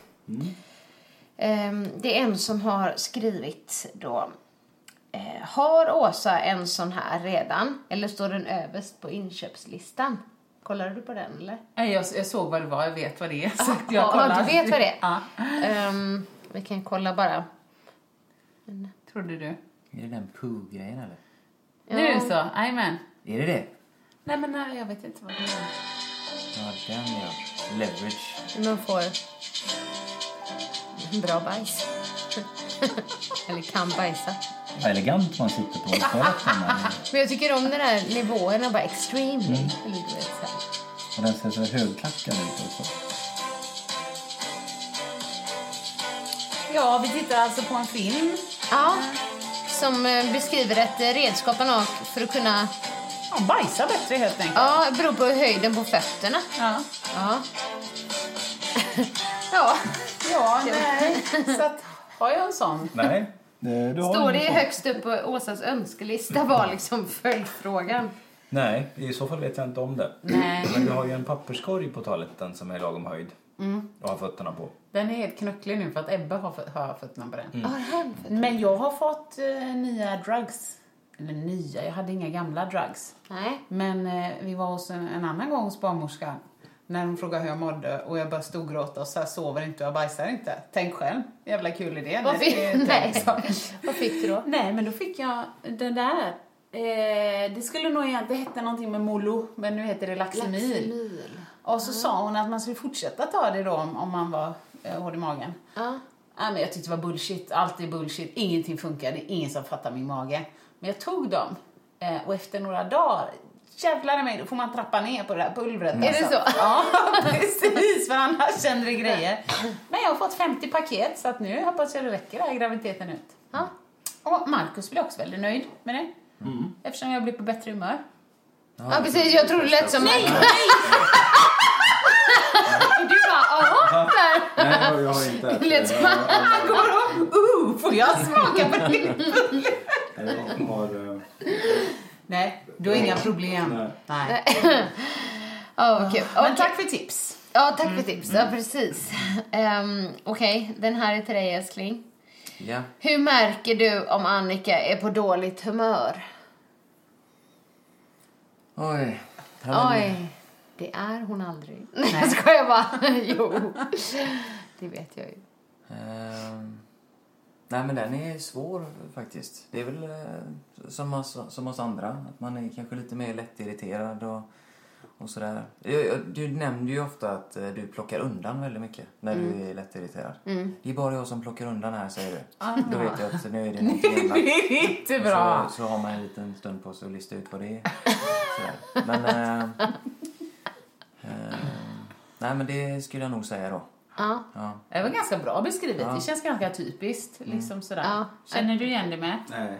[SPEAKER 2] Ehm, Det är en som har skrivit då. eh, Har Åsa en sån här redan? Eller står den överst på inköpslistan? Kollade du på den eller?
[SPEAKER 3] Nej, jag, jag såg vad det var, jag vet vad det är. Så att
[SPEAKER 2] Ja,
[SPEAKER 3] jag kollar.
[SPEAKER 2] du vet vad det är?
[SPEAKER 3] Ja.
[SPEAKER 2] Ehm, vi kan kolla bara.
[SPEAKER 3] Trodde du?
[SPEAKER 5] Är det den poo-grejen eller?
[SPEAKER 3] Nu så, jajamän.
[SPEAKER 5] Är det det?
[SPEAKER 3] Nej men nej, jag vet inte vad det är.
[SPEAKER 5] Ja, den ja. Leverage.
[SPEAKER 2] Man får bra bajs. eller kan bajsa.
[SPEAKER 4] Vad elegant man sitter på toaletten. här.
[SPEAKER 2] Men jag tycker om den här nivåerna, bara extreme. Eller du vet, så här.
[SPEAKER 4] Och den ser så högklackad ut också.
[SPEAKER 3] Ja, vi tittar alltså på en film.
[SPEAKER 2] Ja, som eh, beskriver ett eh, redskap man har för att kunna...
[SPEAKER 3] Ja, bajsa bättre helt enkelt.
[SPEAKER 2] Ja, det beror på höjden på fötterna.
[SPEAKER 3] Ja,
[SPEAKER 2] Ja. ja.
[SPEAKER 3] ja nej. Så att, har jag en sån?
[SPEAKER 4] Nej, det, du har
[SPEAKER 2] Står
[SPEAKER 4] en
[SPEAKER 2] det
[SPEAKER 4] sån.
[SPEAKER 2] högst upp på Åsas önskelista var liksom följdfrågan.
[SPEAKER 4] Nej, i så fall vet jag inte om det.
[SPEAKER 3] Nej.
[SPEAKER 4] Men du har ju en papperskorg på toaletten som är lagom höjd. Och har fötterna på.
[SPEAKER 3] Den är helt knucklig nu för att Ebbe har, fått- har fötterna på den.
[SPEAKER 2] Har han för-
[SPEAKER 3] Men jag har fått eh, nya drugs. Eller nya, jag hade inga gamla drugs.
[SPEAKER 2] Nej.
[SPEAKER 3] Men eh, vi var hos en, en annan gång hos barnmorskan när hon frågade hur jag mådde och jag bara stod gråta och så här, sover inte och jag bajsar inte. Tänk själv, jävla kul idé.
[SPEAKER 2] Vad fick,
[SPEAKER 3] det är-
[SPEAKER 2] nej.
[SPEAKER 3] tänk så.
[SPEAKER 2] Vad fick du då?
[SPEAKER 3] Nej, men då fick jag den där. Eh, det skulle nog egentligen, det hette någonting med Molo, men nu heter det Laxemil. Och så sa hon att man skulle fortsätta ta det då om, om man var eh, hård i magen.
[SPEAKER 2] Ja.
[SPEAKER 3] Nej, men jag tyckte det var bullshit. Allt är bullshit. Ingenting funkar. Det är ingen som fattar min mage. Men jag tog dem. Eh, och efter några dagar, jävlar i mig, då får man trappa ner på det där pulvret.
[SPEAKER 2] Mm.
[SPEAKER 3] alltså.
[SPEAKER 2] Är det så?
[SPEAKER 3] Ja, precis. För annars händer det grejer. Men jag har fått 50 paket, så att nu hoppas jag det räcker det här graviditeten ut.
[SPEAKER 2] Ja.
[SPEAKER 3] Och Markus blir också väldigt nöjd med det. Eftersom jag blir på bättre humör.
[SPEAKER 2] ja, precis. Jag tror det lät som... Nej, Och du bara, ja. där.
[SPEAKER 4] Nej, jag, jag har inte
[SPEAKER 2] Det lät som Ah,
[SPEAKER 3] Han går och, uh, får jag smaka på det?
[SPEAKER 4] Jag har... eh,
[SPEAKER 3] Nej, du har inga problem.
[SPEAKER 4] Nej.
[SPEAKER 3] Nej.
[SPEAKER 2] Ja, Mm. vad kul.
[SPEAKER 3] Men
[SPEAKER 2] Okej.
[SPEAKER 3] tack för tips.
[SPEAKER 2] Ja, tack för tips. Ja, precis. Um, Okej, den här är till dig, älskling.
[SPEAKER 5] Ja.
[SPEAKER 2] Hur märker du om Annika är på dåligt humör?
[SPEAKER 5] Oj. Ja, men-
[SPEAKER 2] Oj, det är hon aldrig. Nej, ska jag bara. jo, det vet jag ju.
[SPEAKER 5] Ehm, nej men den är svår faktiskt. Det är väl eh, som, oss, som oss andra, att man är kanske lite mer lättirriterad och, och sådär. Jag- jag- Du nämnde ju ofta att eh, du plockar undan väldigt mycket när du är lättirriterad. Det är bara jag som plockar undan här säger du. Då vet jag att nu är det någonting annat.
[SPEAKER 3] Det är inte
[SPEAKER 5] Så,
[SPEAKER 3] bra.
[SPEAKER 5] så har man en liten stund på sig att lista ut vad det är. Sådär. Men, eh, eh, nej men det skulle jag nog säga då.
[SPEAKER 2] Ja,
[SPEAKER 5] Ja.
[SPEAKER 3] Det var ganska bra beskrivet. Det känns ganska typiskt.
[SPEAKER 5] Mm.
[SPEAKER 3] Liksom sådär.
[SPEAKER 2] Ja.
[SPEAKER 3] Känner du igen det med?
[SPEAKER 4] Nej,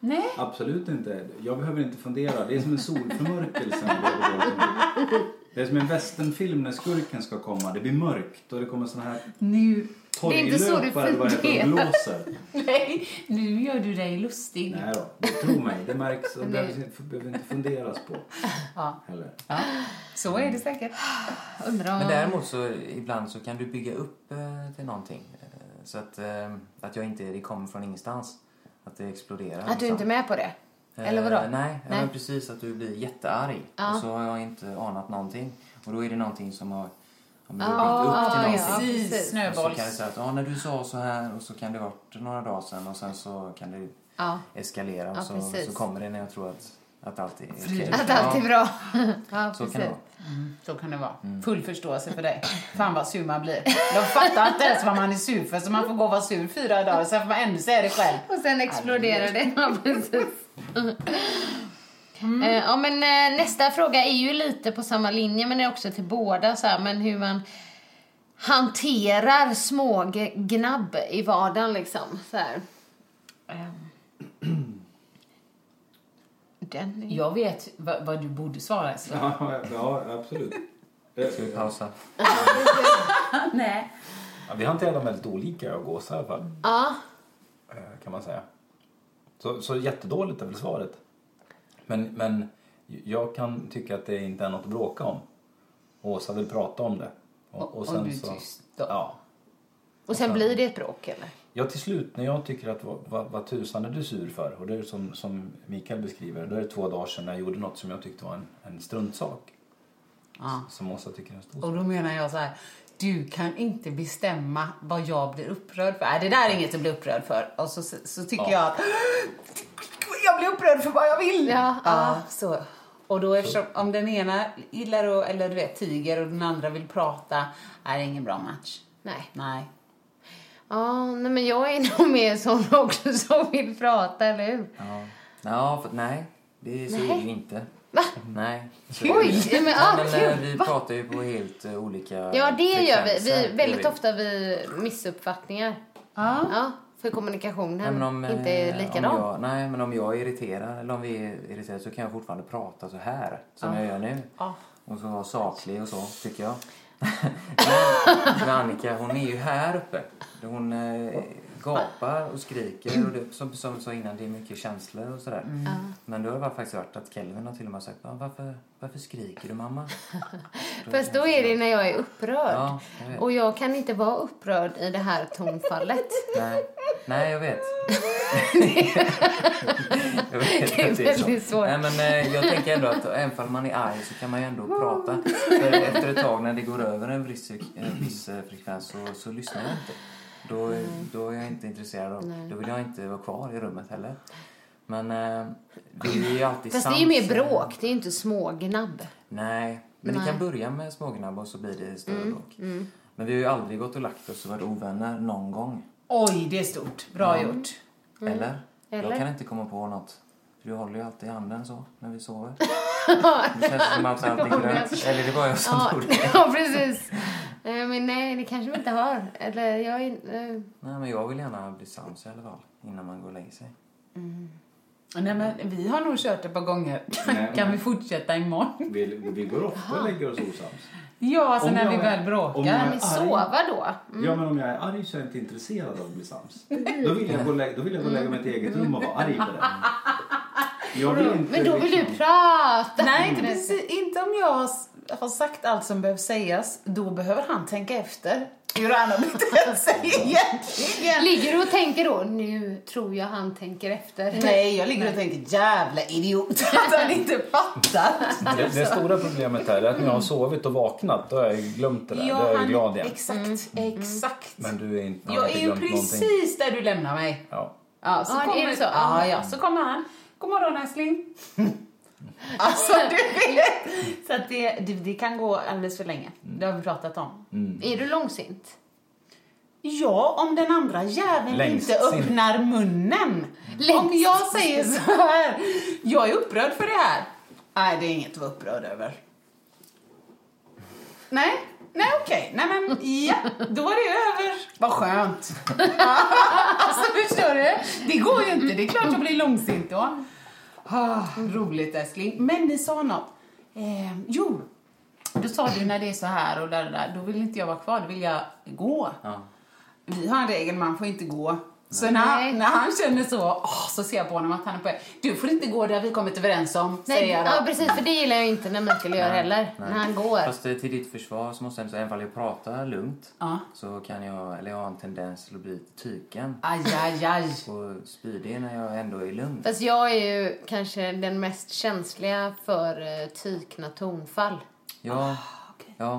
[SPEAKER 3] Nej.
[SPEAKER 4] absolut inte. Jag behöver inte fundera. Det är som en solförmörkelse. när det går igång. Det är som en westernfilm när skurken ska komma. Det blir mörkt och det kommer såna här
[SPEAKER 3] Nu
[SPEAKER 2] Det är inte så du
[SPEAKER 6] Sorglöpare är vad det heter, de
[SPEAKER 2] fungerar.
[SPEAKER 6] blåser.
[SPEAKER 3] Nej, nu gör du dig lustig.
[SPEAKER 6] Nej då, tro mig. Det märks och behöver, behöver inte funderas på.
[SPEAKER 3] Ja.
[SPEAKER 6] Heller.
[SPEAKER 3] Så är det säkert.
[SPEAKER 2] Undrar
[SPEAKER 5] Men
[SPEAKER 2] om...
[SPEAKER 5] däremot så ibland så kan du bygga upp eh, till någonting. Eh, Så att, eh, att jag inte, det kommer från ingenstans. Att det exploderar.
[SPEAKER 2] Att du
[SPEAKER 5] liksom.
[SPEAKER 2] inte är med på det?
[SPEAKER 5] Eh,
[SPEAKER 2] Eller vadå?
[SPEAKER 5] nej, ja,
[SPEAKER 2] Nej.
[SPEAKER 5] Men precis att du blir jättearg.
[SPEAKER 2] Ja.
[SPEAKER 5] Och så har jag inte anat någonting. Och då är det någonting som har ja, men du har
[SPEAKER 2] Ja,
[SPEAKER 5] byggt upp till
[SPEAKER 2] Ah, ja, precis.
[SPEAKER 3] Precis,
[SPEAKER 5] någonting. Och så kan
[SPEAKER 3] snöbolls...
[SPEAKER 5] det säga att ja, när du sa så här och så kan det ha varit några dagar sedan och sen så kan det
[SPEAKER 2] Ja.
[SPEAKER 5] eskalera och
[SPEAKER 2] Ja,
[SPEAKER 5] så,
[SPEAKER 2] precis.
[SPEAKER 5] så kommer det när jag tror att, att allt är
[SPEAKER 3] Frid.
[SPEAKER 5] okej.
[SPEAKER 2] Att allt är bra? ja,
[SPEAKER 5] Ja, så
[SPEAKER 2] precis.
[SPEAKER 5] kan det vara.
[SPEAKER 3] Så kan det vara.
[SPEAKER 5] Mm.
[SPEAKER 3] Full förståelse för dig. Fan vad sur man blir. Jag fattar inte ens vad man är sur för så man får gå och vara sur fyra dagar sen får man ändå säga det själv.
[SPEAKER 2] Och sen exploderar det. Ja, precis. Eh, Ja, men eh, nästa fråga är ju lite på samma linje, men är också till båda. Så här, men hur man hanterar små g- gnabb i vardagen, liksom. Så här. Ehm. Den är...
[SPEAKER 3] Jag vet vad, vad du borde svara. Så.
[SPEAKER 6] Ja, ja, absolut.
[SPEAKER 5] Ska vi pausa?
[SPEAKER 3] Nej.
[SPEAKER 4] Ja, vi hanterar dem väldigt olika jag och Gåsa i alla fall,
[SPEAKER 2] Ja,
[SPEAKER 4] eh, kan man säga. Så, så jättedåligt är väl svaret. Men, men jag kan tycka att det inte är något att bråka om. Och Åsa vill prata om det.
[SPEAKER 3] Och- och du är tyst då.
[SPEAKER 4] Ja.
[SPEAKER 2] och sen blir det ett bråk, eller?
[SPEAKER 4] Ja, till slut när jag tycker att vad, vad, vad tusan är du sur för? Och det är som, som Mikael beskriver, då är det två dagar sedan jag gjorde något som jag tyckte var en, en struntsak.
[SPEAKER 3] Ja.
[SPEAKER 4] Som Åsa tycker är en stor sak.
[SPEAKER 3] Och då menar jag så här. Du kan inte bestämma vad jag blir upprörd för. Nej, det där är inget att bli upprörd för. Och så, så, så tycker jag att jag blir upprörd för vad jag vill.
[SPEAKER 2] Ja, ja.
[SPEAKER 3] så. Och då eftersom, om den ena gillar att, eller du vet, tiger och den andra vill prata, är det ingen bra match.
[SPEAKER 2] Nej.
[SPEAKER 3] Nej.
[SPEAKER 2] Ja, nej, men jag är nog mer sån också som vill prata, eller hur?
[SPEAKER 5] Ja. Ja, för, nej, det så är det ju inte.
[SPEAKER 2] Va?
[SPEAKER 5] Nej. Så är det ju
[SPEAKER 2] Oj!
[SPEAKER 5] inte.
[SPEAKER 2] nej, Men,
[SPEAKER 5] Ja,
[SPEAKER 2] ah,
[SPEAKER 5] men,
[SPEAKER 2] kul.
[SPEAKER 5] eh, vi pratar ju på helt eh, olika
[SPEAKER 2] Ja, det gör vi.
[SPEAKER 5] frekvenser,
[SPEAKER 2] vi
[SPEAKER 5] gör
[SPEAKER 2] väldigt
[SPEAKER 5] vi.
[SPEAKER 2] ofta vi missuppfattningar.
[SPEAKER 3] Ja.
[SPEAKER 2] Ja, för kommunikationen
[SPEAKER 5] Nej, men om, eh,
[SPEAKER 2] inte är likadan.
[SPEAKER 5] Om jag, nej, men om jag är irriterad eller om vi är irriterade så kan jag fortfarande prata så här som jag gör nu.
[SPEAKER 3] Ja.
[SPEAKER 5] Och så vara saklig och så, tycker jag. men, men Annika, hon är ju här uppe. Hon eh, gapar och skriker. Och det, som, som du sa innan, det är mycket känslor och sådär.
[SPEAKER 2] Mm.
[SPEAKER 5] Men då har det faktiskt varit att Kelvin har till och med sagt "Ja, varför, varför skriker du mamma?
[SPEAKER 2] Fast då är det när jag är upprörd.
[SPEAKER 5] Ja, jag vet.
[SPEAKER 2] och jag kan inte vara upprörd i det här tonfallet.
[SPEAKER 5] Nej, nej jag vet. jag vet
[SPEAKER 2] Det är
[SPEAKER 5] att
[SPEAKER 2] väldigt
[SPEAKER 5] så.
[SPEAKER 2] svårt.
[SPEAKER 5] Nej, men, eh, jag tänker ändå att även om man är arg så kan man ju ändå prata. För efter ett tag när det går över en viss, en viss eh, frekvens så, så lyssnar jag inte. Då, då är jag inte intresserad av Då vill jag inte vara kvar i rummet heller. Men eh, det är ju alltid
[SPEAKER 2] Fast det är ju mer
[SPEAKER 5] sans. eh.
[SPEAKER 2] bråk, det är ju inte smågnabb.
[SPEAKER 5] Nej, men det kan börja med smågnabb och så blir det större
[SPEAKER 2] Mm,
[SPEAKER 5] bråk. Men vi har ju aldrig gått och lagt oss och varit ovänner någon gång.
[SPEAKER 3] Oj, det är stort. Bra gjort.
[SPEAKER 5] Eller?
[SPEAKER 2] Mm. Eller?
[SPEAKER 5] Jag kan inte komma på något. För du håller ju alltid i handen så när vi sover. Det känns som att allting är grönt. Eller det var jag som
[SPEAKER 2] Ja,
[SPEAKER 5] trodde det.
[SPEAKER 2] ja, precis. Eh, Men nej, det kanske vi inte har. Eller jag är... eh,
[SPEAKER 5] Nej men jag vill gärna bli sams i alla fall. Innan man går och lägger sig.
[SPEAKER 3] Nej, men vi har nog kört ett par gånger.
[SPEAKER 6] Nej.
[SPEAKER 3] kan vi fortsätta imorgon?
[SPEAKER 6] Vi, vi går ofta och lägger oss osams.
[SPEAKER 3] Ja, alltså
[SPEAKER 6] Om
[SPEAKER 3] när
[SPEAKER 6] jag
[SPEAKER 3] vi
[SPEAKER 6] är-
[SPEAKER 3] väl
[SPEAKER 6] om
[SPEAKER 3] bråkar.
[SPEAKER 6] jag-
[SPEAKER 2] Kan ni sova då?
[SPEAKER 6] Ja, men om jag är arg så är jag inte intresserad av att bli sams. Då vill jag gå och lägga, då vill jag gå och lägga mig i ett eget rum och vara arg på det. Jag vill inte,
[SPEAKER 2] Men då vill du
[SPEAKER 6] liksom-
[SPEAKER 2] prata.
[SPEAKER 3] Nej, inte, precis, inte om jag har s- har sagt allt som behöver sägas. Då behöver han tänka efter hur han har betett sig egentligen.
[SPEAKER 2] Ligger du och tänker då, nu tror jag han tänker efter.
[SPEAKER 3] Nej, jag ligger och tänker jävla idiot att han inte fattar.
[SPEAKER 4] Det, det stora problemet här är att när jag har sovit och vaknat då har jag glömt det där. då är jag glad igen. Mm,
[SPEAKER 3] Exakt, exakt.
[SPEAKER 4] Men du är inte, har
[SPEAKER 3] jag
[SPEAKER 4] inte
[SPEAKER 3] är ju
[SPEAKER 4] glömt
[SPEAKER 3] precis
[SPEAKER 4] någonting.
[SPEAKER 3] där du lämnar mig.
[SPEAKER 4] Ja.
[SPEAKER 3] Ja, så
[SPEAKER 2] Ja, det är
[SPEAKER 3] kommer,
[SPEAKER 2] så.
[SPEAKER 3] Ja, ja, så kommer han. God morgon, älskling. alltså, du vet.
[SPEAKER 4] Mm.
[SPEAKER 3] Så att det, det, det kan gå alldeles för länge. Det har vi pratat om.
[SPEAKER 2] Är du långsint?
[SPEAKER 3] Ja, om den andra jäveln
[SPEAKER 4] Längst
[SPEAKER 3] inte
[SPEAKER 4] sin-
[SPEAKER 3] öppnar munnen.
[SPEAKER 2] Längst.
[SPEAKER 3] Om jag säger så här, jag är upprörd för det här. Nej, det är inget att vara upprörd över. Nej, nej okej. Nej men ja, då är det över. Vad skönt. alltså förstår du? Det går ju inte. Det är klart jag blir långsint då. Ah, roligt älskling. Men ni sa något. Eh, jo, då sa du när det är så här och där, där, då vill inte jag vara kvar, då vill jag gå.
[SPEAKER 5] Ja.
[SPEAKER 3] vi har en regel, man får inte gå. Så när, han- när han känner så, åh, så ser jag på honom att han är på väg. Du får inte gå där vi kommit överens om,
[SPEAKER 2] Nej,
[SPEAKER 3] säger jag då.
[SPEAKER 2] ja, precis, för det gillar jag inte när Mikael gör heller. När han går.
[SPEAKER 5] Fast eh, till ditt försvar så måste jag ändå säga, även om jag pratar lugnt
[SPEAKER 3] Ja.
[SPEAKER 5] så kan jag, eller jag har en tendens till att bli lite tyken
[SPEAKER 3] Aj, aj, aj.
[SPEAKER 5] och spydig när jag ändå är lugn.
[SPEAKER 2] Fast jag är ju kanske den mest känsliga för eh, tykna tonfall.
[SPEAKER 5] Ja,
[SPEAKER 2] Ah,
[SPEAKER 5] ja,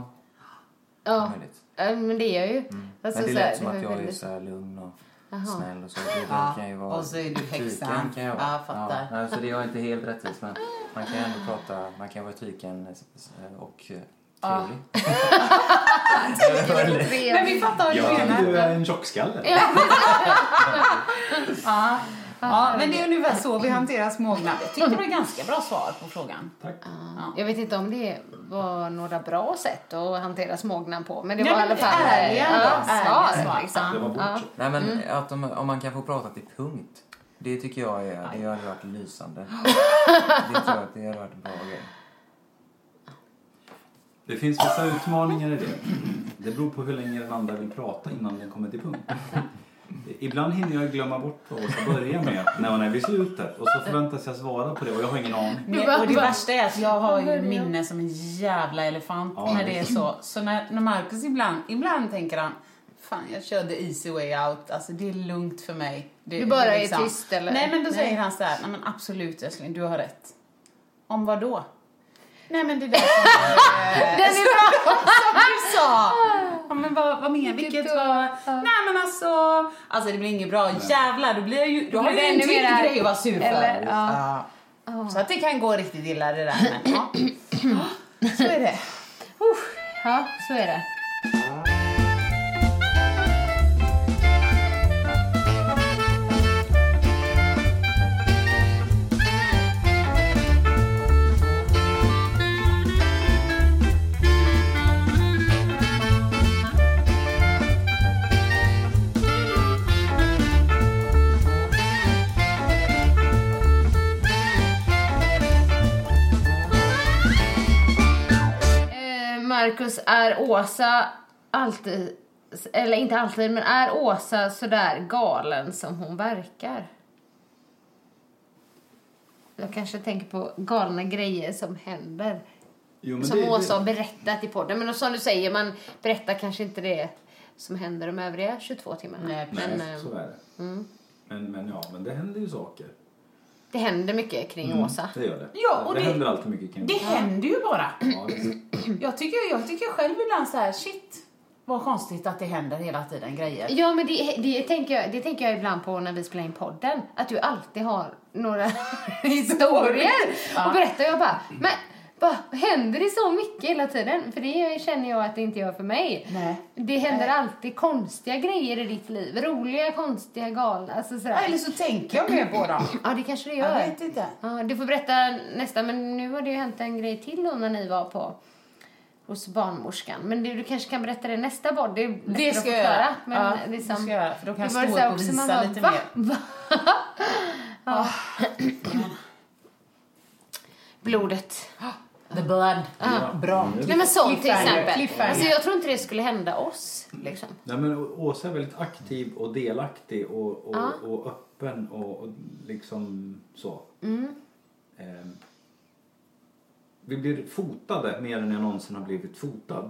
[SPEAKER 5] det är
[SPEAKER 2] Ja,
[SPEAKER 5] möjligt.
[SPEAKER 2] ja, men det är jag ju. Alltså,
[SPEAKER 5] Mm. Men det
[SPEAKER 2] så här,
[SPEAKER 5] lät som
[SPEAKER 2] var
[SPEAKER 5] att jag är
[SPEAKER 2] väldigt-
[SPEAKER 5] så här lugn och
[SPEAKER 2] Jaha.
[SPEAKER 5] snäll och så. Det
[SPEAKER 3] Ja,
[SPEAKER 5] kan ju vara
[SPEAKER 3] och så är du
[SPEAKER 5] tyken
[SPEAKER 3] häxan.
[SPEAKER 5] Kan jag vara.
[SPEAKER 3] Ja, jag fattar.
[SPEAKER 5] Ja, alltså det är inte helt rättvist men man kan ändå prata, man kan vara tyken eh, och eh, trevlig.
[SPEAKER 3] Men vi fattar vad du
[SPEAKER 6] Jag
[SPEAKER 3] menar.
[SPEAKER 6] tycker du är en tjockskalle.
[SPEAKER 3] Ja. Ja, men det är ungefär så vi hanterar smågnagg. Jag tyckte det var ganska bra svar på frågan.
[SPEAKER 6] Tack.
[SPEAKER 2] Jag vet inte om det var några bra sätt att hantera smågnan på. Men det
[SPEAKER 3] Nej,
[SPEAKER 2] var i alla
[SPEAKER 3] men
[SPEAKER 2] fall eh,
[SPEAKER 3] ärliga
[SPEAKER 2] ja,
[SPEAKER 3] svar.
[SPEAKER 2] svar.
[SPEAKER 3] Svar.
[SPEAKER 2] liksom.
[SPEAKER 6] Det var vårt.
[SPEAKER 2] Ja.
[SPEAKER 5] Nej men
[SPEAKER 3] Mm.
[SPEAKER 5] att om, om man kan få prata till punkt. Det tycker jag är, det hade varit lysande. det tror jag att det hade varit en bra grej.
[SPEAKER 6] Det finns vissa utmaningar i det. Det beror på hur länge den andra vill prata innan den kommer till punkt. Ibland hinner jag glömma bort vad jag ska börja med när man är vid slutet och så förväntas jag svara på det och jag har ingen aning.
[SPEAKER 3] Nej, och det värsta är att jag har ju minne som en jävla elefant
[SPEAKER 6] Ja.
[SPEAKER 3] när det är så. Så när, när Marcus ibland, ibland tänker han Fan, jag körde easy way out. Alltså, det är lugnt för mig. Det,
[SPEAKER 2] Du bara
[SPEAKER 3] det liksom-
[SPEAKER 2] är tyst, eller?
[SPEAKER 3] Nej, men då
[SPEAKER 2] Nej.
[SPEAKER 3] säger han så här. Nej, men absolut, älskling, du har rätt. Om vad då? Nej, men det där som,
[SPEAKER 2] Den är bra!
[SPEAKER 3] som du sa. Ja, men vad, vad menar Vilket var... Nej, men alltså... Alltså, det blir inget bra. Jävlar, då blir jag ju... Då har
[SPEAKER 2] blir
[SPEAKER 3] jag ju
[SPEAKER 2] det
[SPEAKER 3] en
[SPEAKER 2] ännu
[SPEAKER 3] till
[SPEAKER 2] mera-
[SPEAKER 3] grej att vara sur för.
[SPEAKER 2] Eller,
[SPEAKER 3] Ja. Så att det kan gå riktigt illa det där. Men, ja. Så är det.
[SPEAKER 2] Uff, Ja, så är det. Eh, Marcus, är Åsa alltid, eller inte alltid, men är Åsa sådär galen som hon verkar? Jag kanske tänker på galna grejer som händer.
[SPEAKER 6] Jo,
[SPEAKER 2] som Åsa har berättat i podden. Men som du säger, man berättar kanske inte det som händer de övriga 22 timmarna.
[SPEAKER 3] Nej,
[SPEAKER 2] men
[SPEAKER 6] Nej,
[SPEAKER 2] eh,
[SPEAKER 6] så är det. Men, men ja, men det händer ju saker.
[SPEAKER 2] det händer mycket kring Åsa.
[SPEAKER 6] Det gör det.
[SPEAKER 3] Ja, och
[SPEAKER 6] det,
[SPEAKER 3] det-
[SPEAKER 6] händer alltid mycket kring
[SPEAKER 3] Det händer ju bara.
[SPEAKER 6] Ja, visst.
[SPEAKER 3] Jag tycker, jag tycker själv ibland så här, shit vad konstigt att det händer hela tiden grejer.
[SPEAKER 2] Ja, men det, det, tänker jag, det tänker jag ibland på när vi spelar in podden. Att du alltid har några historier. Och berättar jag bara, men bara, händer det så mycket hela tiden? För det känner jag att det inte gör för mig.
[SPEAKER 3] Nej.
[SPEAKER 2] Det händer alltid konstiga grejer i ditt liv. Roliga, konstiga, galna. Alltså sådär.
[SPEAKER 3] Eller så tänker jag mer på dem.
[SPEAKER 2] Ja, det kanske det gör.
[SPEAKER 3] Jag vet inte.
[SPEAKER 2] Ja, du får berätta nästa, men nu har det ju hänt en grej till då när ni var på hos barnmorskan. Men du, du kanske kan berätta det i nästa podd. Det, är lättare
[SPEAKER 3] Det
[SPEAKER 2] att
[SPEAKER 3] ska jag
[SPEAKER 2] förklara,
[SPEAKER 3] göra.
[SPEAKER 2] Men
[SPEAKER 3] ja,
[SPEAKER 2] liksom,
[SPEAKER 3] det ska jag göra. För då kan
[SPEAKER 2] det
[SPEAKER 3] jag
[SPEAKER 2] var
[SPEAKER 3] stå
[SPEAKER 2] så här
[SPEAKER 3] upp och
[SPEAKER 2] också, man
[SPEAKER 3] visa
[SPEAKER 2] bara,
[SPEAKER 3] lite
[SPEAKER 2] "Va?
[SPEAKER 3] mer.
[SPEAKER 2] Va?" Ja. Blodet.
[SPEAKER 3] The blood. Bra.
[SPEAKER 2] Nej men sånt till
[SPEAKER 3] Cliffhanger,
[SPEAKER 2] exempel.
[SPEAKER 3] cliffhanger.
[SPEAKER 2] Alltså, jag tror inte det skulle hända oss. Liksom.
[SPEAKER 6] Nej, men Å- Åsa är väldigt aktiv och delaktig och, och, och öppen och, och liksom så.
[SPEAKER 2] Mm.
[SPEAKER 6] Ehm, vi blir fotade mer än jag någonsin har blivit fotad.